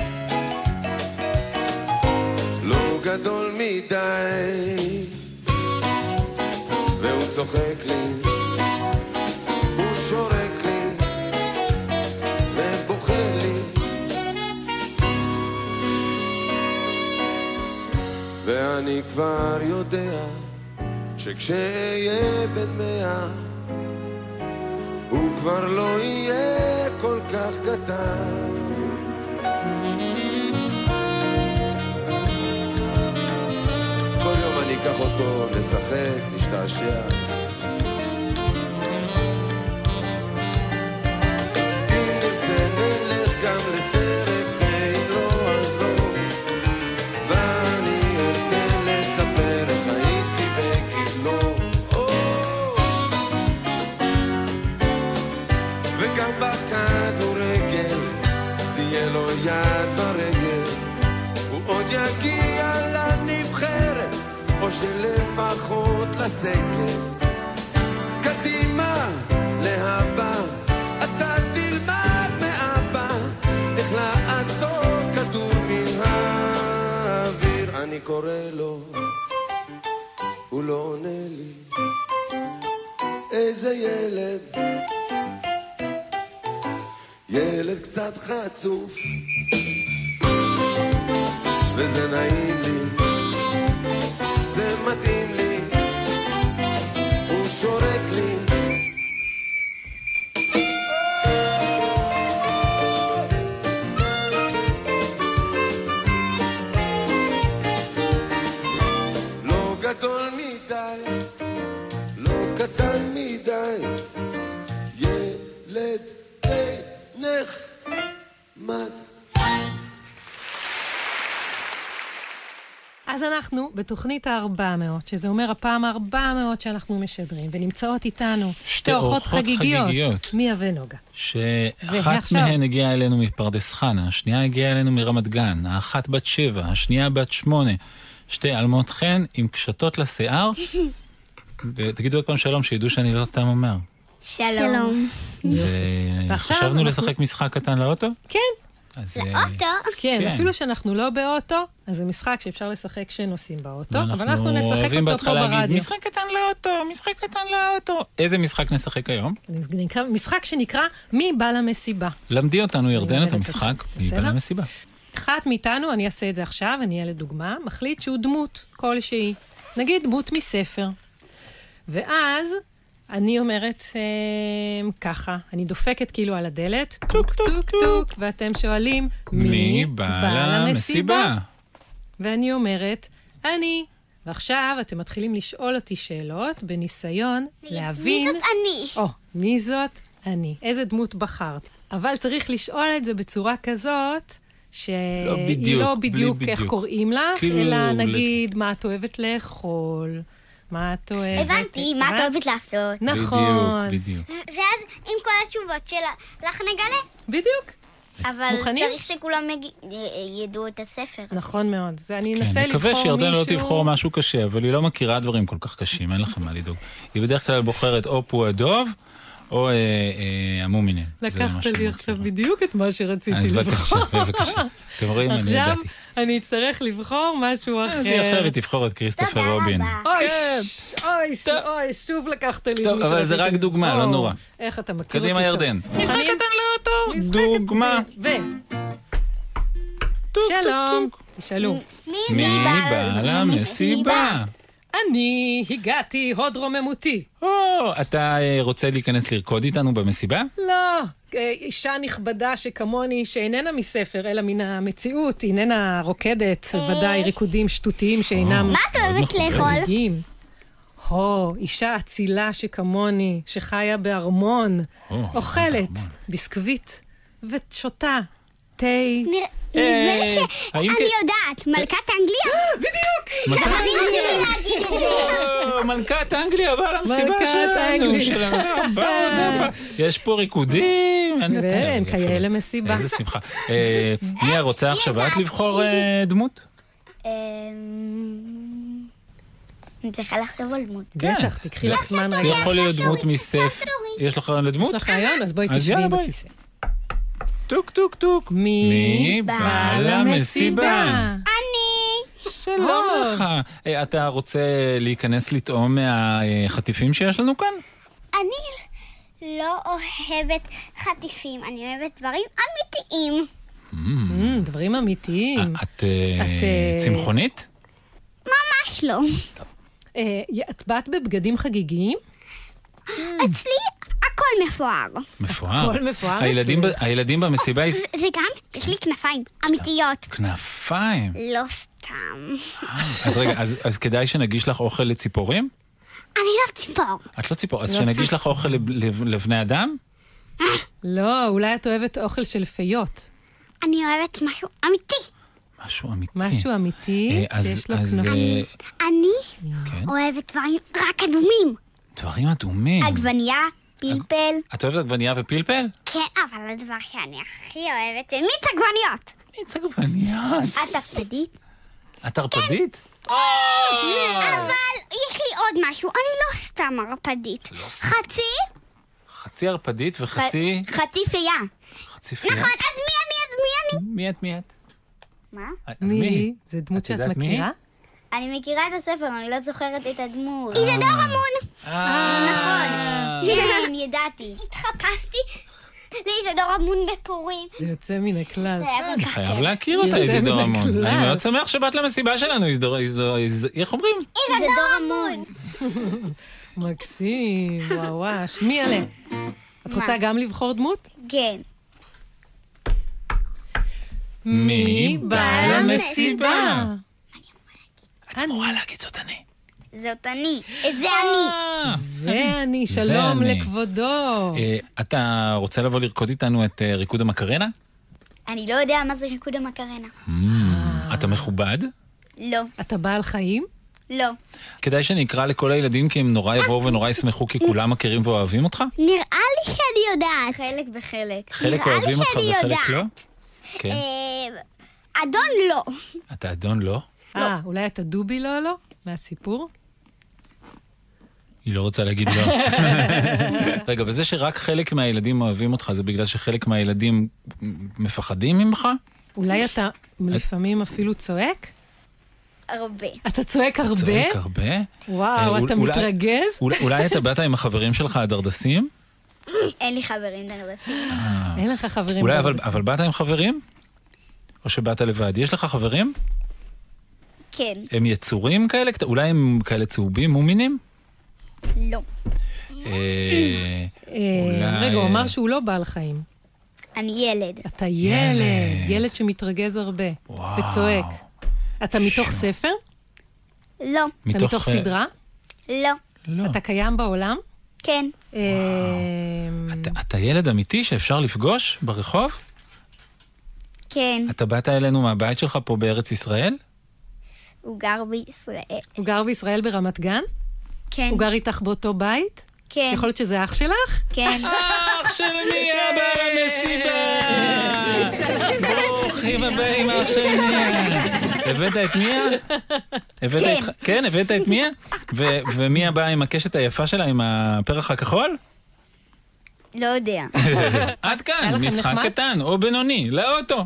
Speaker 11: לא גדול מדי, והוא צוחק לי, הוא שורק לי, ובוכה לי. ואני כבר יודע שכשאהיה בן מאה הוא כבר לא יהיה כל כך קטן. כל יום אני אקח אותו, נשחק, נשתעשע. אם נרצה נלך גם לסרט, ואם לא אז לא. ואני ארצה לספר איך הייתי בגיבלו. וגם בכדורגל תהיה לו יד ברגל הוא עוד יגיע לנבחרת או שלפחות לסגל קדימה להבא אתה תלמד מאבא איך לעצור כדור מן האוויר אני קורא לו הוא לא עונה לי איזה ילד ילד קצת חצוף וזה נעים לי, זה מתאים לי, הוא שורק לי לא גדול מדי, לא קטן מדי, ילד די נחמד.
Speaker 2: אז אנחנו בתוכנית ה-400, שזה אומר הפעם ה-400 שאנחנו משדרים, ונמצאות איתנו שתי אורחות
Speaker 1: אורחות
Speaker 2: חגיגיות,
Speaker 1: חגיגיות.
Speaker 2: מיה ונוגה.
Speaker 1: שאחת
Speaker 2: ועכשיו-
Speaker 1: מהן הגיעה אלינו מפרדס חנה, השנייה הגיעה אלינו מרמת גן, האחת בת שבע, השנייה בת שמונה, שתי אלמות חן עם קשתות
Speaker 2: (laughs)
Speaker 1: לשיער. ותגידו עוד פעם שלום, שידעו שאני לא סתם אומר.
Speaker 9: שלום.
Speaker 2: ועכשיו
Speaker 1: וחשבנו
Speaker 2: אנחנו-
Speaker 1: לשחק משחק קטן לאוטו?
Speaker 2: כן.
Speaker 1: אז, אה,
Speaker 9: לאוטו.
Speaker 2: כן,
Speaker 1: כן.
Speaker 2: אפילו שאנחנו לא באוטו, אז זה משחק שאפשר לשחק כשנוסעים באוטו,
Speaker 1: ואנחנו
Speaker 2: אבל אנחנו נשחק
Speaker 1: אוהבים
Speaker 2: אותו פה
Speaker 1: בהתחלה להגיד,
Speaker 2: ברדיו.
Speaker 1: "משחק קטן לאוטו, משחק קטן לאוטו. איזה משחק נשחק היום?
Speaker 2: נקרא- משחק שנקרא מי בא למסיבה.
Speaker 1: למדי אותנו, ירדן,
Speaker 2: לומדת
Speaker 1: את המשחק,
Speaker 2: אותך.
Speaker 1: והיא
Speaker 2: בסדר?
Speaker 1: באה למסיבה.
Speaker 2: אחת מאיתנו, אני אעשה את זה עכשיו, אני אהיה לדוגמה, מחליט שהוא דמות כלשהי. נגיד דמות מספר. ואז אני אומרת אה, ככה, אני דופקת כאילו על הדלת, טוק טוק טוק, ואתם שואלים,
Speaker 1: מי
Speaker 2: מי
Speaker 1: בא למסיבה?
Speaker 2: ואני אומרת, אני. ועכשיו אתם מתחילים לשאול אותי שאלות בניסיון להבין...
Speaker 3: מי זאת אני?
Speaker 2: או, מי זאת אני? איזה דמות בחרת? אבל צריך לשאול את זה בצורה כזאת, שהיא
Speaker 1: לא בדיוק,
Speaker 2: לא
Speaker 1: בלי
Speaker 2: בדיוק איך
Speaker 1: בדיוק.
Speaker 2: קוראים לך,
Speaker 1: כאילו,
Speaker 2: אלא נגיד מה את אוהבת לאכול, מה את אוהבת...
Speaker 3: הבנתי, מה את אוהבת לעשות.
Speaker 2: נכון.
Speaker 1: בדיוק, בדיוק.
Speaker 3: ואז עם כל התשובות שלך נגלה.
Speaker 2: בדיוק.
Speaker 9: אבל
Speaker 2: מוכנים?
Speaker 9: צריך שכולם יג- י- ידעו את הספר. הזה.
Speaker 2: נכון מאוד. זה אני אנסה
Speaker 1: כן,
Speaker 2: לבחור מישהו...
Speaker 1: נקווה שירדן לא תבחור משהו קשה, אבל היא לא מכירה דברים כל כך קשים, אין לכם מה לדאוג. היא בדרך כלל בוחרת או פועדוב, או אה, אה, המומינם. זה מה
Speaker 2: לקחת
Speaker 1: שהיא
Speaker 2: לי עכשיו בדיוק את מה שרציתי
Speaker 1: אז
Speaker 2: לבחור.
Speaker 1: בבקשה, בבקשה. אתם רואים, אני
Speaker 2: עכשיו
Speaker 1: ידעתי. אה,
Speaker 2: אני אצטרך לבחור משהו אחר.
Speaker 1: אז היא עכשיו היא תבחור את כריסטופר רובין.
Speaker 2: אוי, אוי, אוי, שוב לקחת לי.
Speaker 1: טוב,
Speaker 2: מי
Speaker 1: אבל זה
Speaker 2: שרציתי.
Speaker 1: רק דוגמה, לא
Speaker 2: או,
Speaker 1: נורא.
Speaker 2: איך אתה מכיר אותי
Speaker 1: קדימה,
Speaker 2: טוב.
Speaker 1: ירדן.
Speaker 2: משחק קטן לאוטו. דוגמה. ו... שלום, תשאלו.
Speaker 1: מי בא למסיבה?
Speaker 2: אני הגעתי, הוד רוממותי.
Speaker 1: או, אתה אה, רוצה להיכנס לרקוד איתנו במסיבה?
Speaker 2: לא, אה, אישה נכבדה שכמוני, שאיננה מספר, אלא מן המציאות, איננה רוקדת, ודאי ריקודים שטותיים שאינם...
Speaker 3: אה? מה את אוהבת לאכול?
Speaker 2: חגיגיים. הו, אישה אצילה שכמוני, שחיה בארמון,
Speaker 1: או,
Speaker 2: אוכלת ביסקוויט ושותה תה.
Speaker 3: נדמה לי
Speaker 1: אה, האם
Speaker 3: שאני יודעת, מלכת אנגליה.
Speaker 1: (gasps)
Speaker 3: (laughs) בדיוק.
Speaker 1: מלכת
Speaker 3: גם אני רציתי להגיד את זה.
Speaker 1: (laughs) או, מלכת אנגליה באה למסיבה
Speaker 2: מלכת
Speaker 1: שלנו.
Speaker 2: אנגליה.
Speaker 1: שלנו.
Speaker 3: (laughs)
Speaker 1: באה, באה. יש פה ריקודים. אין לתאר,
Speaker 2: ואין,
Speaker 1: אה, יפה.
Speaker 2: כיאה למסיבה.
Speaker 1: איזה שמחה. אה, מיה, רוצה עכשיו את לבחור אה, דמות?
Speaker 9: אמ, אני צריכה לחשוב על דמות.
Speaker 2: בטח, תקחי
Speaker 3: לא
Speaker 2: לך זמן
Speaker 1: זה
Speaker 2: רגע.
Speaker 1: כן. יכול להיות דמות מסף. יש לך רעיון לדמות?
Speaker 2: יש לך רעיון? אז בואי
Speaker 1: אז
Speaker 2: תשבי
Speaker 1: יאללה,
Speaker 2: עם
Speaker 1: בואי.
Speaker 2: הכיסא.
Speaker 1: טוק טוק טוק. מי בא למסיבה? שלום
Speaker 2: אור.
Speaker 1: לך. אה, אתה רוצה להיכנס לטעום מהחטיפים שיש לנו כאן?
Speaker 3: אני לא אוהבת חטיפים, אני אוהבת דברים אמיתיים.
Speaker 2: אמ, דברים אמיתיים.
Speaker 1: את אה,
Speaker 2: את, אה,
Speaker 1: צמחונית?
Speaker 3: ממש לא.
Speaker 2: אה, את באת בבגדים חגיגיים?
Speaker 3: (gasps) אצלי הכל מפואר.
Speaker 1: מפואר.
Speaker 2: הכל מפואר
Speaker 1: הילדים
Speaker 2: אצלך.
Speaker 1: ב- הילדים במסיבה היא
Speaker 3: ו- וגם, יש לי כנפיים אמיתיות.
Speaker 1: (laughs) כנפיים.
Speaker 3: לא סתם.
Speaker 1: אז רגע, אז- אז כדאי שנגיש לך אוכל לציפורים?
Speaker 3: אני לא ציפור.
Speaker 1: את לא ציפור, אז
Speaker 2: לא
Speaker 1: שנגיש לך אוכל לב- לב- לבני אדם?
Speaker 2: לא, אולי את אוהבת אוכל של פיות.
Speaker 3: אני אוהבת משהו אמיתי.
Speaker 1: משהו אמיתי.
Speaker 2: משהו
Speaker 1: אה,
Speaker 2: אמיתי
Speaker 1: אז-
Speaker 2: שיש לו
Speaker 1: אז, אה,
Speaker 2: כנפיים.
Speaker 3: אני
Speaker 1: כן.
Speaker 3: אוהבת דברים רק אדומים.
Speaker 1: דברים אדומים. אה,
Speaker 3: עגבנייה, פלפל.
Speaker 1: את אוהבת עגבנייה ופלפל?
Speaker 3: כן, אבל הדבר שאני הכי אוהבת זה מיץ עגבניות.
Speaker 1: מיץ עגבניות.
Speaker 3: את הקפדית?
Speaker 1: את ערפדית?
Speaker 3: אבל יש לי עוד משהו, אני לא סתם ערפדית. חצי?
Speaker 1: חצי ערפדית לא וחצי...
Speaker 3: חצי פייה.
Speaker 1: חצי פייה.
Speaker 3: נכון, אז מי אני? אז מי אני?
Speaker 1: מי את? מי את? אה,
Speaker 9: מה?
Speaker 1: אז מי
Speaker 2: מי?
Speaker 1: היא?
Speaker 2: זה דמות
Speaker 1: את
Speaker 2: שאת
Speaker 1: יודעת מי היא?
Speaker 2: מכירה?
Speaker 9: אני מכירה את הספר, אני לא זוכרת את הדמות.
Speaker 3: איזדור אמון. נכון.
Speaker 1: אה,
Speaker 9: כן, ידעתי.
Speaker 3: התחפשתי לאיזדור אמון בפורים.
Speaker 2: (laughs) זה יוצא מן הכלל.
Speaker 3: זה היה כל
Speaker 1: אני
Speaker 3: כך
Speaker 1: חייב
Speaker 3: כיף.
Speaker 1: להכיר אותה,
Speaker 2: יוצא
Speaker 1: איזידור
Speaker 2: מן
Speaker 1: המון.
Speaker 2: הכלל.
Speaker 1: אני מאוד שמח שבאת למסיבה שלנו, איזידור... איזידור- איז- איך אומרים?
Speaker 3: איזדור אמון.
Speaker 2: (laughs) מקסים, וואו וואש. מי אלה? את רוצה גם לבחור דמות?
Speaker 9: כן.
Speaker 1: מי בא למסיבה?
Speaker 2: את אמורה
Speaker 1: להגיד זאת אני. אה,
Speaker 9: זאת אני. זה אני.
Speaker 2: זה אני,
Speaker 1: זה
Speaker 2: שלום
Speaker 1: אני.
Speaker 2: לכבודו.
Speaker 1: אה, אתה רוצה לבוא לרקוד איתנו את אה, ריקוד המקרנה?
Speaker 9: אני לא יודע מה זה ריקוד המקרנה.
Speaker 2: אה.
Speaker 1: אתה מכובד?
Speaker 9: לא.
Speaker 2: אתה בעל חיים?
Speaker 9: לא.
Speaker 1: כדאי שנקרא לכל הילדים כי הם נורא יבואו ונורא ישמחו כי כולם מכירים ואוהבים אותך?
Speaker 3: נראה לי שאני יודעת.
Speaker 9: חלק וחלק.
Speaker 1: חלק
Speaker 3: נראה לי
Speaker 1: אוהבים אותך לא?
Speaker 3: שאני אה.
Speaker 1: וחלק
Speaker 3: יודעת.
Speaker 1: לא? כן.
Speaker 3: אה, אדון לא.
Speaker 1: אתה אדון לא?
Speaker 2: אה, אולי אתה דובי לא לא? מהסיפור?
Speaker 1: היא לא רוצה להגיד לא.
Speaker 3: (laughs)
Speaker 1: רגע, וזה שרק חלק מהילדים אוהבים אותך, זה בגלל שחלק מהילדים מפחדים ממך?
Speaker 2: (laughs) אולי אתה לפעמים אפילו צועק?
Speaker 3: הרבה.
Speaker 2: אתה צועק הרבה?
Speaker 1: צועק הרבה? אה,
Speaker 2: וואו, אתה
Speaker 1: אולי-
Speaker 2: מתרגז? אה,
Speaker 1: אולי- אולי אתה באת עם החברים שלך
Speaker 2: (laughs)
Speaker 1: הדרדסים?
Speaker 3: אין לי חברים נרדסים.
Speaker 1: אה,
Speaker 10: אה.
Speaker 2: אין לך חברים.
Speaker 1: אולי, אבל
Speaker 2: בבית.
Speaker 1: אבל באת עם חברים? או שבאת לבד? יש לך חברים?
Speaker 3: כן.
Speaker 1: הם יצורים כאלה? קט- אולי הם כאלה צהובים, מומינים?
Speaker 3: לא.
Speaker 1: אה,
Speaker 2: אה,
Speaker 1: אולי-
Speaker 2: רגע, הוא אמר שהוא לא בעל חיים.
Speaker 3: אני ילד.
Speaker 2: אתה ילד, ילד שמתרגז הרבה. וצועק. אתה מתוך ספר?
Speaker 3: לא.
Speaker 2: אתה מתוך
Speaker 1: אה,
Speaker 2: סדרה?
Speaker 3: לא.
Speaker 2: אתה קיים בעולם? אה,
Speaker 3: כן.
Speaker 1: אתה ילד אמיתי שאפשר לפגוש ברחוב?
Speaker 3: כן.
Speaker 1: אתה באת אלינו מהבית שלך פה בארץ ישראל?
Speaker 3: הוא גר בישראל.
Speaker 2: הוא גר בישראל ברמת גן?
Speaker 3: כן.
Speaker 2: הוא גר איתך באותו בית?
Speaker 3: כן.
Speaker 2: יכול להיות שזה אח שלך?
Speaker 3: כן.
Speaker 1: אח של מי אבא למסיבה? ברוכים הבאים, אח של מיה. הבאת את מיה? הבאת
Speaker 10: כן.
Speaker 1: את... כן, הבאת את מיה? ו- ומיה באה עם הקשת היפה שלה, עם הפרח הכחול?
Speaker 3: לא
Speaker 10: (laughs)
Speaker 3: יודע.
Speaker 1: עד
Speaker 3: היה
Speaker 1: כאן,
Speaker 3: לכם
Speaker 1: משחק
Speaker 3: נחמד?
Speaker 1: קטן או בינוני, לאוטו.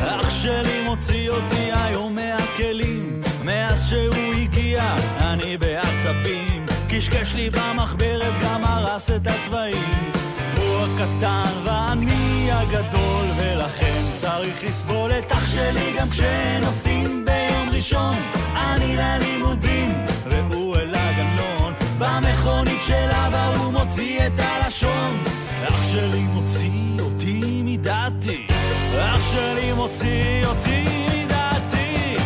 Speaker 12: אח שלי מוציא אותי היום מהכלים מאז שהוא הגיע אני בעצבים קשקש לי במחברת גם הרס את הצבעים הוא הקטן ואני הגדול ולכן צריך לסבול את אח שלי גם כשנוסעים ביום ראשון אני ללימודים והוא אל הגנון במכונית של אבא הוא מוציא את הלשון אח שלי מוציא אותי מדעתי אח שלי מוציא אותי מדעתי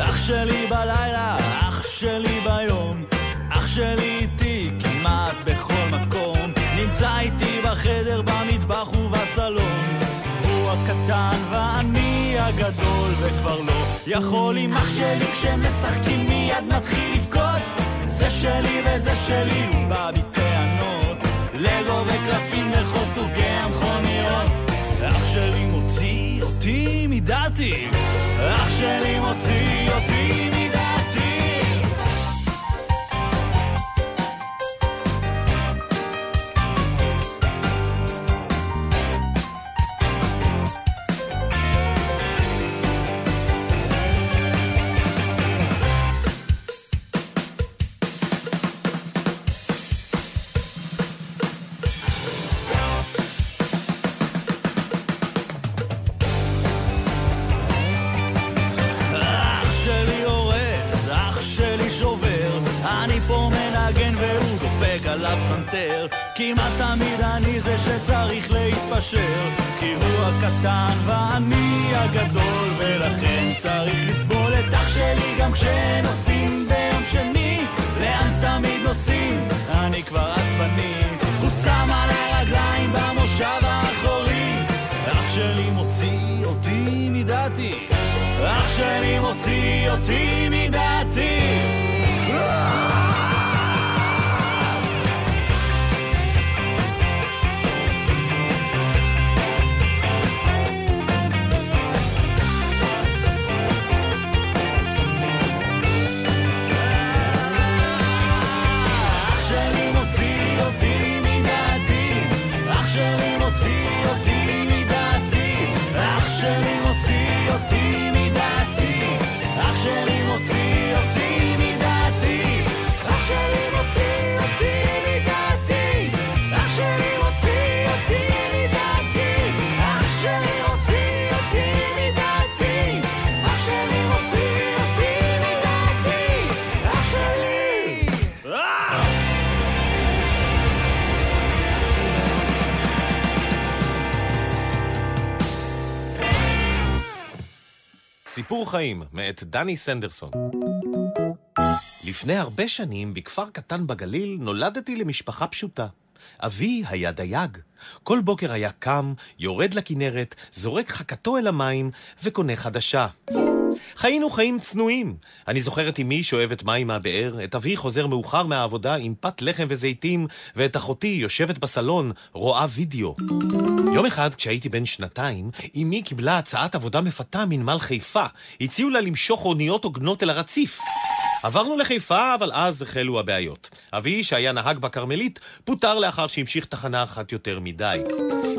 Speaker 12: אח שלי בלילה, אח שלי ביום, אח שלי איתי כמעט בכל מקום, נמצא איתי בחדר, במטבח ובסלון. הוא הקטן ואני הגדול וכבר לא יכול עם אח שלי כשמשחקים מיד נתחיל לבכות זה שלי וזה שלי, הוא בא בטענות לגו וקלפים וכל סוגי המכוניות אח שלי מוציא אותי מדעתי אח שלי מוציא אותי מדעתי אח שלי הורס, אח שלי שובר, אני פה מנגן והוא דופק עליו סנטר. כמעט תמיד אני זה שצריך להתפשר, כי הוא הקטן ואני הגדול, ולכן צריך לסבול את אח שלי גם כשנוסעים ביום שני, לאן תמיד נוסעים, אני כבר עצבני. הוא שם על הרגליים במושב האחורי, אח שלי מוציא אותי מדעתי. אח שלי מוציא אותי מדעתי אח שלי מוציא אותי מדעתי אח שלי מוציא אותי מדעתי אח שלי מוציא אותי מדעתי אח שלי מוציא אותי מדעתי אח שלי מוציא אותי מדעתי אח שלי מוציא אותי מדעתי אח שלי מוציא אותי מדעתי אח שלי מוציא אותי מדעתי אח שלי
Speaker 11: אה!
Speaker 6: סיפור חיים, מאת דני סנדרסון. לפני הרבה שנים, בכפר קטן בגליל, נולדתי למשפחה פשוטה. אבי היה דייג. כל בוקר היה קם, יורד לכנרת, זורק חכתו אל המים וקונה חדשה. חיינו חיים צנועים. אני זוכר את אמי שואבת מים מהבאר, את אבי חוזר מאוחר מהעבודה עם פת לחם וזיתים, ואת אחותי יושבת בסלון, רואה וידאו. יום אחד, כשהייתי בן שנתיים, אמי קיבלה הצעת עבודה מפתה מנמל חיפה. הציעו לה למשוך אוניות הוגנות אל הרציף. עברנו לחיפה, אבל אז החלו הבעיות. אבי, שהיה נהג בכרמלית, פוטר לאחר שהמשיך תחנה אחת יותר מדי.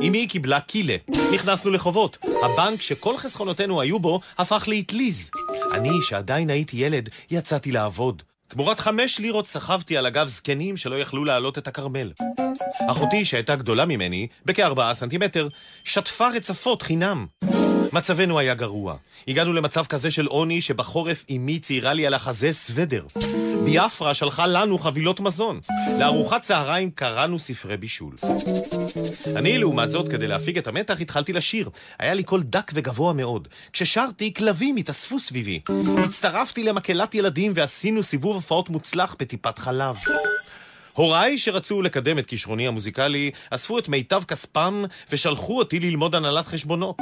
Speaker 6: אמי קיבלה קילה, נכנסנו לחובות. הבנק שכל חסכונותינו היו בו, הפך לאטליז. אני, שעדיין הייתי ילד, יצאתי לעבוד. תמורת חמש לירות סחבתי על הגב זקנים שלא יכלו להעלות את הכרמל. אחותי, שהייתה גדולה ממני, בכארבעה סנטימטר, שטפה רצפות חינם. מצבנו היה גרוע. הגענו למצב כזה של עוני שבחורף אמי ציירה לי על החזה סוודר. ביאפרה שלחה לנו חבילות מזון. לארוחת צהריים קראנו ספרי בישול. אני, לעומת זאת, כדי להפיג את המתח, התחלתי לשיר. היה לי קול דק וגבוה מאוד. כששרתי, כלבים התאספו סביבי. הצטרפתי למקהלת ילדים ועשינו סיבוב הופעות מוצלח בטיפת חלב. הוריי שרצו לקדם את כישרוני המוזיקלי, אספו את מיטב כספם ושלחו אותי ללמוד הנהלת חשבונות.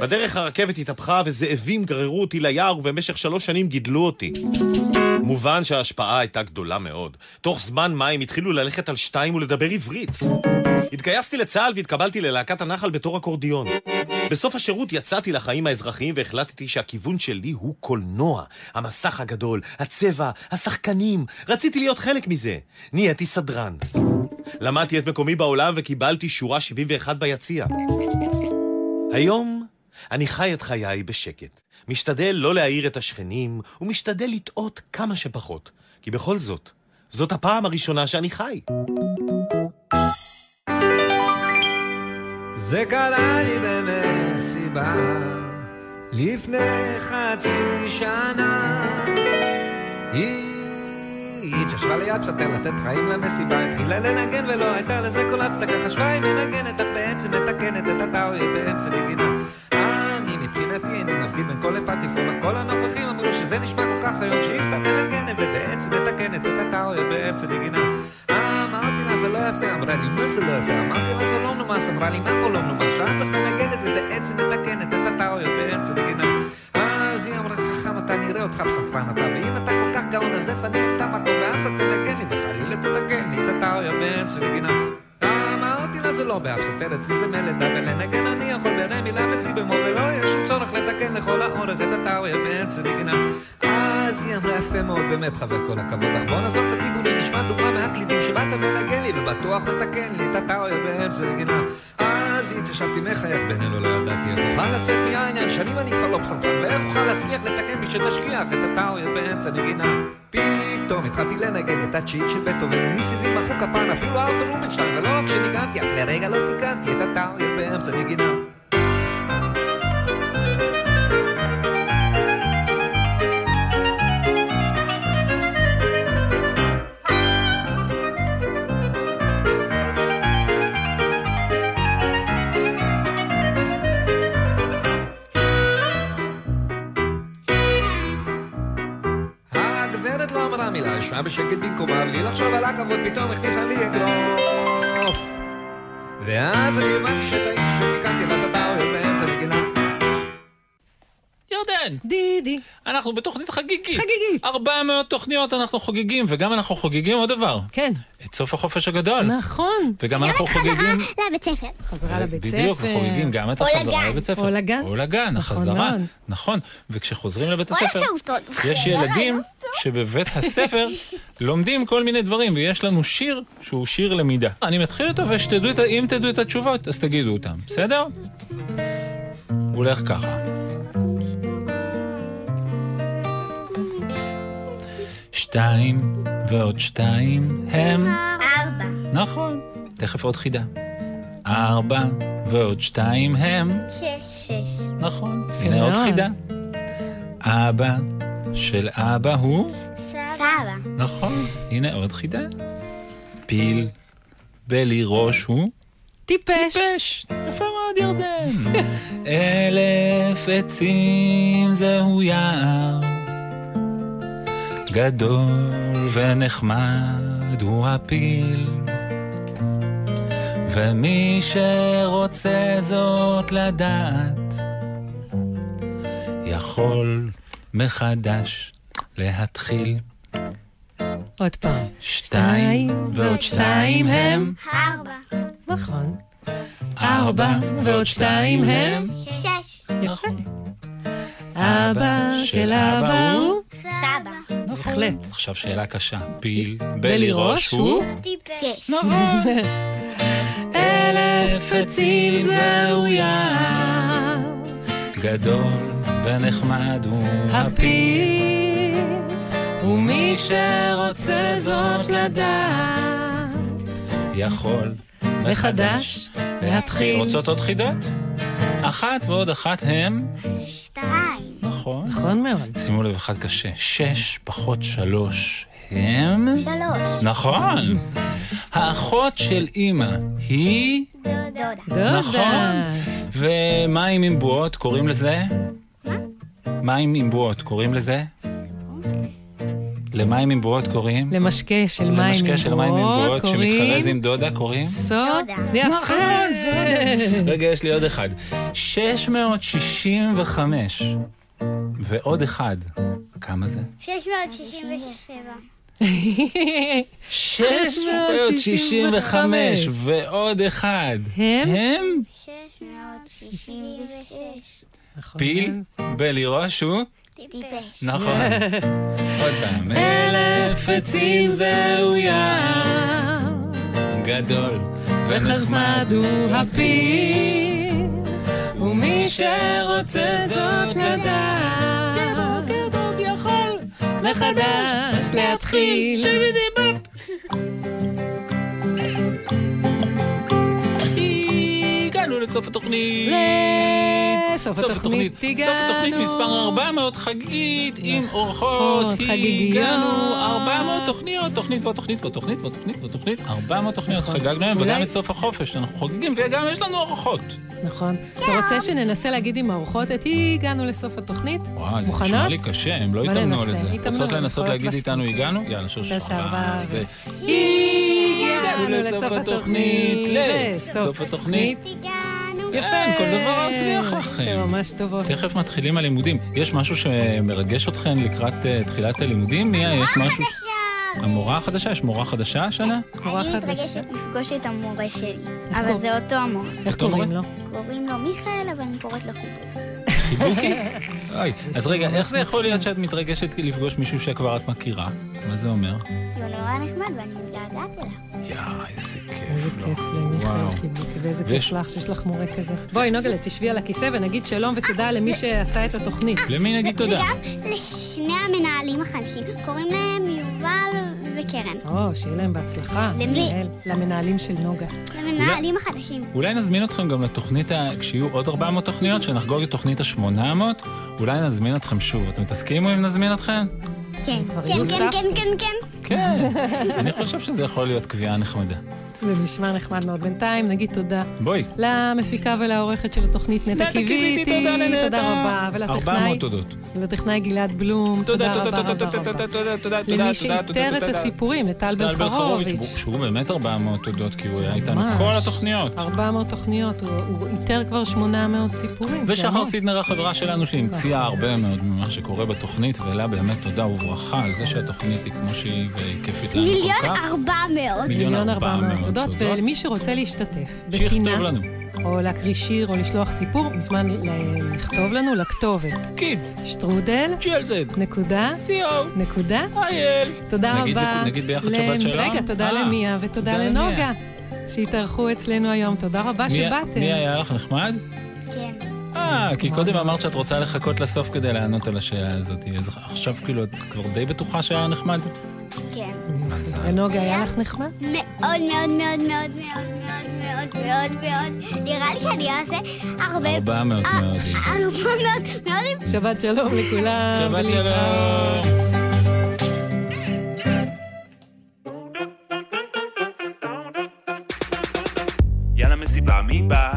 Speaker 6: בדרך הרכבת התהפכה וזאבים גררו אותי ליער ובמשך שלוש שנים גידלו אותי. מובן שההשפעה הייתה גדולה מאוד. תוך זמן מה הם התחילו ללכת על שתיים ולדבר עברית. התגייסתי לצה"ל והתקבלתי ללהקת הנחל בתור אקורדיון. בסוף השירות יצאתי לחיים האזרחיים והחלטתי שהכיוון שלי הוא קולנוע. המסך הגדול, הצבע, השחקנים. רציתי להיות חלק מזה. נהייתי סדרן. למדתי את מקומי בעולם וקיבלתי שורה 71 ביציע. היום אני חי את חיי בשקט. משתדל לא להעיר את השכנים, ומשתדל לטעות כמה שפחות. כי בכל זאת, זאת הפעם הראשונה שאני חי.
Speaker 13: זה קרה לי במסיבה לפני חצי שנה. היא התיישבה ליד שוטר לתת חיים למסיבה, התחילה לנגן ולא הייתה לזה כל הצדקה, חשבה היא מנגנת, אך בעצם מתקנת את הטאווי באמצע נגינה. אני מבחינתי איני מבדיל בין קול לפטיפון, אך כל הנוכחים אמרו שזה נשמע כל כך היום שהיא סתם מנגנת ובעצם מתקנת את הטאווי באמצע נגינה. אמרתי לה זה לא יפה, אמרה לי מה זה לא יפה, אמרתי לה זה לא מנומס, אמרה לי מה פה לא מנומס, שאת לך מנגנת ובעצם מתקנת את הטאויות באמצע נגינה. אז היא אמרה חכם אתה נראה אותך בסנכרן אתה, ואם אתה כל כך גאון אז לפני את המקום ואז אתה תנגן לי וחלילה תתקן לי את הטאויות באמצע נגינה. אמרתי לה זה לא באפסט ארץ, זה מלדה ולנגן אני יכול בעיני מילה בשיא במו ולא יש שום צורך לתקן לכל האורך את הטאויות באמצע נגינה. אז היא אמרה יפה מאוד, באמת חבר כל הכבוד, אך בוא נעזוב את הטיבולים, נשמע דוגמה מהקלידים שבאת מנגן לי, ובטוח מתקן לי את הטאויות באמצע נגינה. אז התיישבתי מחייך בינינו, לא ידעתי איך אוכל לצאת מהעניין, שנים אני כבר לא פסנתרן, ואיך אוכל להצליח לתקן בשתשכיח את הטאויות באמצע נגינה. פתאום התחלתי לנגן את הצ'יט של בטהובן, ומסביבי מחאו כפן, אפילו ארתור רובינשטיין, ולא רק שניגנתי, אף לרגע לא תיקנתי את הטאויות באמצע נגינה. הגברת לא אמרה מילה, ישבה בשקט במקומה, בלי לחשוב על הכבוד, פתאום הכניסה לי אגרוף. ואז אני הבנתי שטעיתי שתיקנתי לה את הטעויות באמצע נגינה.
Speaker 10: ירדן!
Speaker 2: דידי.
Speaker 10: אנחנו בתוכנית חגיגית. חגיגית. 400 תוכניות אנחנו חוגגים, וגם אנחנו חוגגים עוד דבר.
Speaker 2: כן.
Speaker 10: את סוף החופש הגדול.
Speaker 2: נכון.
Speaker 10: וגם אנחנו חוגגים... אה,
Speaker 3: חזרה לבית ספר.
Speaker 2: חזרה לבית ספר.
Speaker 10: בדיוק, וחוגגים גם את
Speaker 3: או
Speaker 10: החזרה
Speaker 3: לגן.
Speaker 10: לבית ספר.
Speaker 3: או
Speaker 2: לגן.
Speaker 10: או לגן, החזרה.
Speaker 2: מאוד.
Speaker 10: נכון. וכשחוזרים לבית
Speaker 3: או
Speaker 10: הספר,
Speaker 3: לפעוטות. כן.
Speaker 10: יש
Speaker 3: (laughs)
Speaker 10: ילדים שבבית הספר לומדים כל מיני דברים, ויש לנו שיר שהוא שיר למידה. אני מתחיל אותו, ושתדעו, את ה- אם תדעו את התשובות, אז תגידו אותם, בסדר? הוא הולך ככה. שתיים ועוד שתיים הם...
Speaker 3: ארבע.
Speaker 10: נכון, תכף עוד חידה. ארבע ועוד שתיים הם...
Speaker 3: שש. שש.
Speaker 10: נכון. הנה עוד חידה. אבא של אבא הוא...
Speaker 3: סבא.
Speaker 10: נכון, הנה עוד חידה. פיל בלי ראש הוא...
Speaker 2: טיפש.
Speaker 10: טיפש. יפה מאוד, ירדן. אלף עצים זהו יער, גדול ונחמד הוא הפיל. ומי שרוצה זאת לדעת, יכול מחדש להתחיל.
Speaker 2: (laughs) עוד פעם.
Speaker 10: שתיים ועוד שתיים הם
Speaker 3: ארבע.
Speaker 2: (laughs) נכון.
Speaker 10: ארבע ועוד שתיים הם
Speaker 3: שש.
Speaker 2: יפה. אבא של אבא הוא
Speaker 3: סבא.
Speaker 2: בהחלט.
Speaker 10: עכשיו שאלה קשה. פיל
Speaker 2: בלי ראש הוא?
Speaker 3: טיפש.
Speaker 10: נכון.
Speaker 2: (laughs)
Speaker 10: אלף עצים זהו יער, גדול ונחמד הוא הפיל, ומי שרוצה זאת לדעת, יכול מחדש להתחיל.
Speaker 1: רוצות עוד חידות? אחת ועוד אחת הם?
Speaker 3: שתיים.
Speaker 1: נכון.
Speaker 2: נכון מאוד.
Speaker 1: שימו לב, אחד קשה. שש פחות שלוש הם?
Speaker 3: שלוש.
Speaker 1: נכון. האחות של אימא היא?
Speaker 3: דודה.
Speaker 1: נכון. ומים עם בועות קוראים לזה? מים עם בועות קוראים לזה? למים עם בועות קוראים?
Speaker 2: למשקה של מים עם בועות.
Speaker 1: למשקה של מים עם בועות שמתחרז
Speaker 2: קוראים
Speaker 1: עם דודה קוראים?
Speaker 2: סוד. (laughs) יפה.
Speaker 1: רגע, יש לי עוד אחד. 665 ועוד אחד. כמה זה?
Speaker 3: 667.
Speaker 1: 665 ועוד אחד.
Speaker 2: הם?
Speaker 1: הם?
Speaker 3: 666.
Speaker 10: נכון.
Speaker 1: פיל בלי ראש הוא?
Speaker 3: טיפש.
Speaker 10: (laughs)
Speaker 1: נכון. עוד פעם.
Speaker 10: אלף עצים זהו יער,
Speaker 1: גדול
Speaker 10: ונחמד הוא הפיל, ומי שרוצה זאת לדעת, יכול מחדש להתחיל. שגדי בפ.
Speaker 1: הגענו לסוף התוכנית.
Speaker 2: לסוף התוכנית
Speaker 1: סוף התוכנית
Speaker 2: הגענו.
Speaker 1: מספר 400 חגית עם אורחות.
Speaker 2: אורחות חגיגיות.
Speaker 1: הגענו 400 תוכניות, תוכנית ועוד תוכנית ועוד תוכנית ועוד תוכנית ועוד תוכנית. 400 תוכניות
Speaker 2: נכון.
Speaker 1: חגגנו היום, וגם
Speaker 2: אולי-
Speaker 1: את סוף החופש אנחנו חוגגים, וגם יש לנו אורחות.
Speaker 2: נכון. אתה רוצה שננסה להגיד עם האורחות את הגענו לסוף התנית?
Speaker 1: וואי, זה
Speaker 2: מוכנות?
Speaker 1: נשמע לי קשה, הם לא
Speaker 2: מה
Speaker 1: התאמנו
Speaker 2: ננסה?
Speaker 1: על זה.
Speaker 2: התאמנו,
Speaker 1: רוצות
Speaker 2: הם
Speaker 1: לנסות
Speaker 2: יכולות
Speaker 1: להגיד
Speaker 2: לעשות.
Speaker 1: איתנו הגענו? יאללה, שש
Speaker 2: שש, ארבע,
Speaker 1: ארבע. ו-
Speaker 2: הגענו
Speaker 1: לסוף התוכנית, לסוף התוכנית.
Speaker 2: יפה.
Speaker 1: כן, כל דבר מצליח לכם.
Speaker 2: אתם ממש טובות.
Speaker 1: תכף מתחילים הלימודים. יש משהו שמרגש אתכן לקראת אה, תחילת הלימודים? נהיה, יש משהו... המורה החדשה, יש מורה חדשה השנה?
Speaker 14: אני מתרגשת לפגוש את המורה שלי, אבל
Speaker 2: קוראים?
Speaker 14: זה אותו המורה.
Speaker 1: איך קוראים לו?
Speaker 14: קוראים לו מיכאל, אבל אני קוראת לו חוטו.
Speaker 1: חיבוקי? אוי, אז רגע, איך זה יכול להיות שאת מתרגשת לפגוש מישהו שכבר את מכירה? מה זה אומר?
Speaker 14: הוא נורא נחמד ואני מתגעגעת אליו.
Speaker 1: יאה, איזה לא.
Speaker 2: כיף
Speaker 1: לו. וואו.
Speaker 2: וואו. ואיזה כיף
Speaker 1: ויש-
Speaker 2: לך שיש לך מורה כזה. בואי, נוגלה, תשבי על הכיסא ונגיד שלום ותודה למי שעשה את התוכנית.
Speaker 1: למי נגיד
Speaker 3: אה, וגם לשני המנהלים החדשים, קוראים להם יובל וקרן.
Speaker 2: או, שיהיה להם בהצלחה.
Speaker 3: למי?
Speaker 2: יעל, למנהלים של נוגה.
Speaker 3: המנהלים החדשים.
Speaker 1: אולי נזמין אתכם גם לתוכנית, ה- כשיהיו עוד 400 תוכניות, שנחגוג את תוכנית ה-800, אולי נזמין אתכם שוב. אתם תסכימו אם נזמין אתכם?
Speaker 3: כן, כן,
Speaker 1: יוסף?
Speaker 3: כן, כן, כן, כן.
Speaker 1: כן.
Speaker 2: (laughs)
Speaker 1: אני חושב שזה יכול להיות קביעה נחמדה.
Speaker 2: זה נשמע נחמד מאוד. בינתיים נגיד תודה
Speaker 1: בואי.
Speaker 2: למפיקה ולעורכת של התוכנית נטע קיוויתי.
Speaker 1: תודה לנטע.
Speaker 2: תודה רבה. ולטכנאי
Speaker 1: 400 תודות.
Speaker 2: ולטכנאי גלעד בלום.
Speaker 1: תודה,
Speaker 2: תודה רבה
Speaker 1: תודה,
Speaker 2: רבה
Speaker 1: תודה, תודה,
Speaker 2: רבה.
Speaker 1: תודה, תודה, תודה,
Speaker 2: למי
Speaker 1: תודה,
Speaker 2: שאיתר את
Speaker 1: תודה.
Speaker 2: הסיפורים, לטל
Speaker 1: טל בן חרוביץ',
Speaker 2: חרוביץ'.
Speaker 1: שהוא באמת 400 תודות, כי הוא היה איתנו
Speaker 2: ממש.
Speaker 1: כל התוכניות.
Speaker 2: 400 תוכניות, הוא- הוא איתר כבר 800 סיפורים. זה
Speaker 1: ושחר
Speaker 2: המון.
Speaker 1: סידנר החברה שלנו שהמציאה הרבה מאוד ממה שקורה בתוכנית, ולה באמת תודה וברכה על זה שהתוכנית היא כמו שהיא והיא כיפית לנו כל
Speaker 3: מיליון
Speaker 1: כך.
Speaker 3: ארבע מאות.
Speaker 1: מיליון
Speaker 2: מיליון ארבע
Speaker 1: ארבע מאות
Speaker 2: מאות תודות,
Speaker 1: תודות.
Speaker 2: ולמי שרוצה להשתתף
Speaker 1: שיכתוב
Speaker 2: בפינה,
Speaker 1: לנו.
Speaker 2: או להקריא שיר, או לשלוח סיפור, מוזמן ל- לכתוב לנו לכתובת.
Speaker 1: קידס.
Speaker 2: שטרודל.
Speaker 1: GLZ.
Speaker 2: נקודה.
Speaker 1: CO.
Speaker 2: נקודה.
Speaker 1: אייל.
Speaker 2: תודה
Speaker 1: נגיד-
Speaker 2: רבה.
Speaker 1: נגיד ביחד
Speaker 2: ל-
Speaker 1: שבת שלום?
Speaker 2: רגע, תודה
Speaker 1: אה,
Speaker 2: למיה ותודה
Speaker 1: תודה
Speaker 2: לנוגה, שהתארחו אצלנו היום. תודה רבה
Speaker 1: מי-
Speaker 2: שבאתם.
Speaker 1: מי היה לך נחמד?
Speaker 14: כן.
Speaker 1: אה, כי קודם אמרת שאת רוצה לחכות לסוף כדי לענות על השאלה הזאת. אז עכשיו כאילו את כבר די בטוחה שהיה נחמד?
Speaker 14: כן.
Speaker 2: ונוגה, היה לך נחמד?
Speaker 3: מאוד מאוד מאוד מאוד מאוד מאוד מאוד מאוד מאוד. נראה לי שאני אעשה הרבה...
Speaker 1: 400
Speaker 3: אה,
Speaker 1: מאוד.
Speaker 3: ארבע מאות מאוד.
Speaker 2: שבת שלום לכולם.
Speaker 1: שבת
Speaker 2: ולהתראות.
Speaker 1: שלום.
Speaker 15: יאללה מסיבה, מי בא?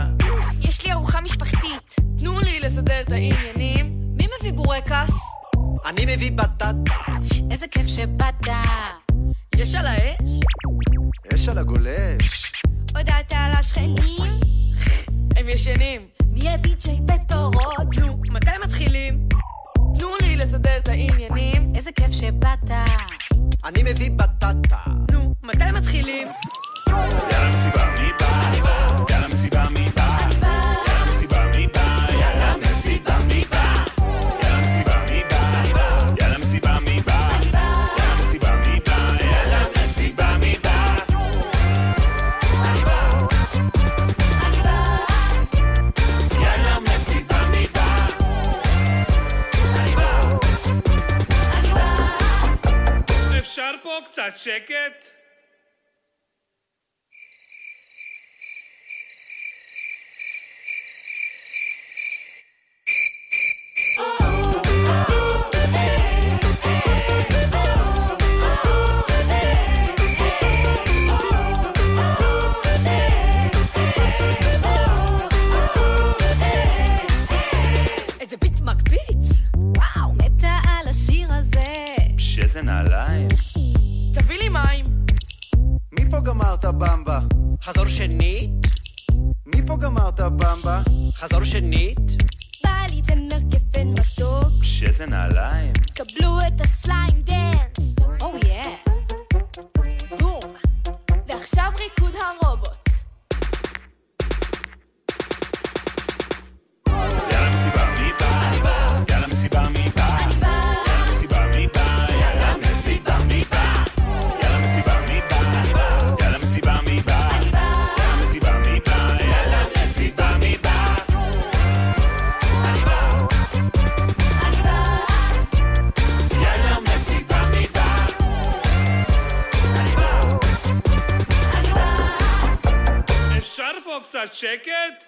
Speaker 16: יש לי ארוחה משפחתית. תנו לי לסדר את העניינים. מי מביא בורקס?
Speaker 11: אני מביא בטט,
Speaker 16: איזה כיף שבאת. יש על האש?
Speaker 11: יש על הגולש.
Speaker 16: עוד
Speaker 13: ידעת על השכנים? הם ישנים. מי הדי-ג'יי בתורו? נו, מתי מתחילים? תנו לי לסדר את העניינים. איזה כיף שבאת.
Speaker 11: אני מביא בטטה.
Speaker 13: נו, מתי מתחילים?
Speaker 15: יאללה מסיבה, מי בא? אני בא. יאללה מסיבה, מי בא? אני בא. יאללה מסיבה, מי בא? יאללה מסיבה, מי בא? יאללה מסיבה, מי בא? אני בא. יאללה מסיבה, מי בא? אני בא. יאללה מסיבה, מי בא? יאללה מסיבה, מי בא? יאללה מסיבה, מי בא? אני בא.
Speaker 10: אפשר פה קצת שקט?
Speaker 13: איזה ביט מקפיץ! וואו, מתה על השיר הזה.
Speaker 15: פש, איזה נעליים.
Speaker 13: תביא לי מים.
Speaker 11: מי פה גמר את הבמבה? חזור שנית? מי פה גמר את הבמבה? חזור שנית?
Speaker 17: בא לי זמר גפן מתוק,
Speaker 15: פש, איזה נעליים.
Speaker 17: קבלו את הסליים דאנס. או יא. בום. ועכשיו ריקוד הרובוט.
Speaker 15: יאללה מסיבה, מי בא? אני בא. יאללה מסיבה, מי בא? אני בא. יאללה מסיבה, מי בא? יאללה מסיבה, מי בא? יאללה מסיבה, מי בא? אני בא. יאללה מסיבה, מי בא? אני בא. יאללה מסיבה, מי בא? יאללה מסיבה, מי בא? יאללה מסיבה, מי בא?
Speaker 10: אפשר פה קצת שקט?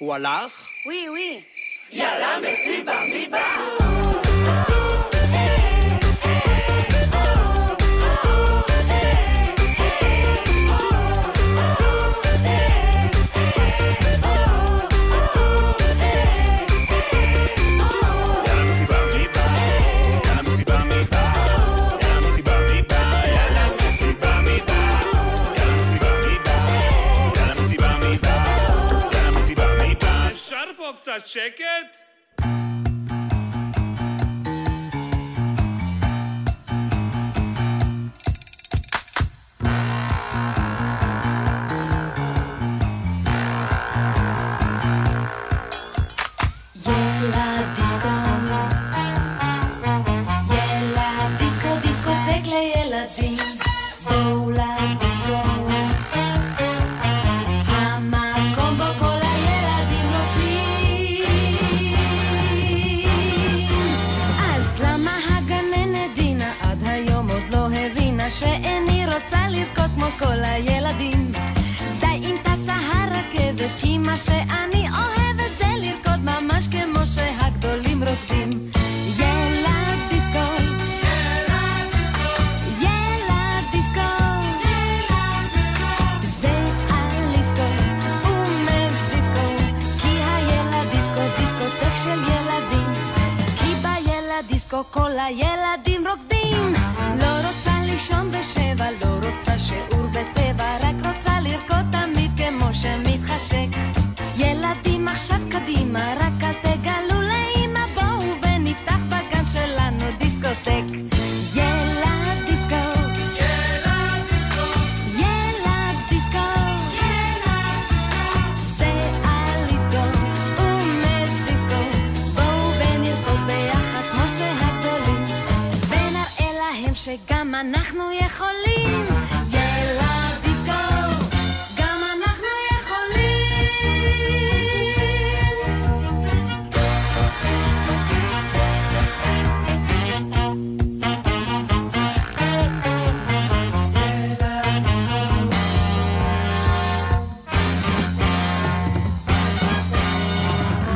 Speaker 11: הוא הלך?
Speaker 16: וואי וואי.
Speaker 10: יאללה מסיבה, מי בא?
Speaker 15: יאללה מסיבה, מי בא? יאללה מסיבה, מי בא? יאללה מסיבה, מי בא? יאללה מסיבה, מי בא? יאללה מסיבה, מי בא? יאללה מסיבה, מי בא? יאללה מסיבה, מי בא?
Speaker 10: אפשר פה קצת שקט?
Speaker 16: ילדיסקו. ילדיסקו, דיסקוטק לילדים. בואו לדיסקו. המקום בו כל הילדים רוקדים. אז למה הגננת דינה עד היום עוד לא הבינה שאיני רוצה לרקוד כמו כל הילדים? די אם טסה הרכבת, כי מה שאני אוהבת זה לרקוד ממש כמו שהגדולים רוקדים. ילד דיסקו. ילד דיסקו. זה אליסקו ומזיסקו, כי הילד דיסקו דיסקוטק של ילדים. כי בילד דיסקו כל הילדים רוקדים. לא רוצה לישון בשבע, לא רוצה שיעור בטבע, רק רוצה לרקוד תמיד כמו שמתחשק. ילדים עכשיו קדימה, רק אל תגלו לאמא, בואו ונפתח בגן שלנו דיסקוטק. ילד דיסקו. ילד דיסקו. ילד דיסקו. ילד דיסקו. זה אליסקו ומסיסקו. בואו ונרקוד ביחד כמו שהגדולים. ונראה להם שגם אנחנו יכולים. ילד דיסקו, גם אנחנו יכולים.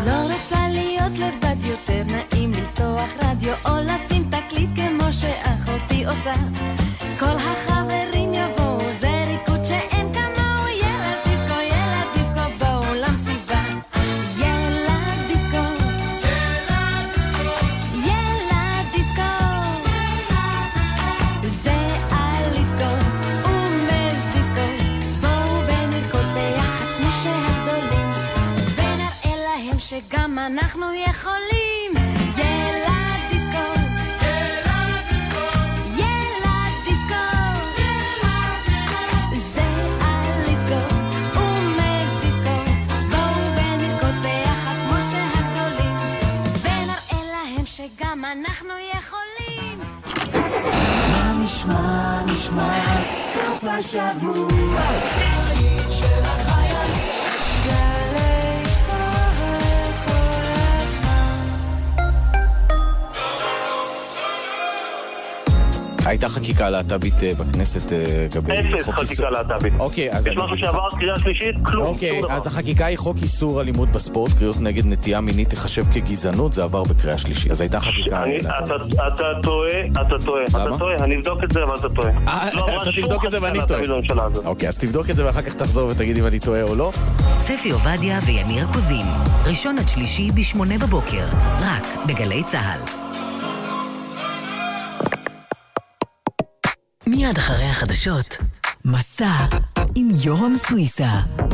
Speaker 16: לא רוצה להיות לבד יותר, נעים לפתוח רדיו או לשים תקליט כמו שאחותי עושה. כל החברים יבואו, זה ריקוד שאין כמוהו, ילד דיסקו, ילד דיסקו, בואו למסיבה. ילד דיסקו. ילד דיסקו. זה אליסקו ומזיסקו. שגם אנחנו יכולים ילד דיסקו ילד דיסקו ילד דיסקו זה על דיסקו ומז דיסקו בואו ונרקוד ביחד כמו שהגדולים ונראה להם שגם אנחנו יכולים
Speaker 10: מה נשמע, נשמע, סוף השבוע. העיד של החייל. גלי צהל כל הזמן.
Speaker 18: הייתה חקיקה להט"בית אה, בכנסת אה, לגבי...
Speaker 12: אפס
Speaker 18: חוק
Speaker 12: חקיקה
Speaker 18: איסור-
Speaker 12: להט"בית.
Speaker 18: אוקיי, אז...
Speaker 12: יש
Speaker 18: אני-
Speaker 12: משהו שעבר קריאה שלישית? כלום,
Speaker 18: אוקיי,
Speaker 12: שום דבר.
Speaker 18: אז החקיקה היא חוק איסור אלימות בספורט, קריאות נגד נטייה מינית תיחשב כגזענות, זה עבר בקריאה שלישית. אז הייתה חקיקה...
Speaker 12: אני- אתה- אתה טועה, אתה טועה. אתה טועה, אני אבדוק את זה, אבל אתה טועה. לא עברה
Speaker 18: אתה
Speaker 12: שום
Speaker 18: תבדוק את זה
Speaker 12: חקיקה
Speaker 18: ואני
Speaker 12: להט"בית
Speaker 18: טועה.
Speaker 12: בממשלה הזאת.
Speaker 18: אוקיי, אז תבדוק את זה ואחר כך תחזור ותגיד אם אני טועה או לא.
Speaker 19: צפי עובדיה ויניר קוזין, ראשון עד שלישי ב-8 בבוקר, רק בגלי צה"ל. מיד אחרי החדשות, מסע עם יורם סוויסה.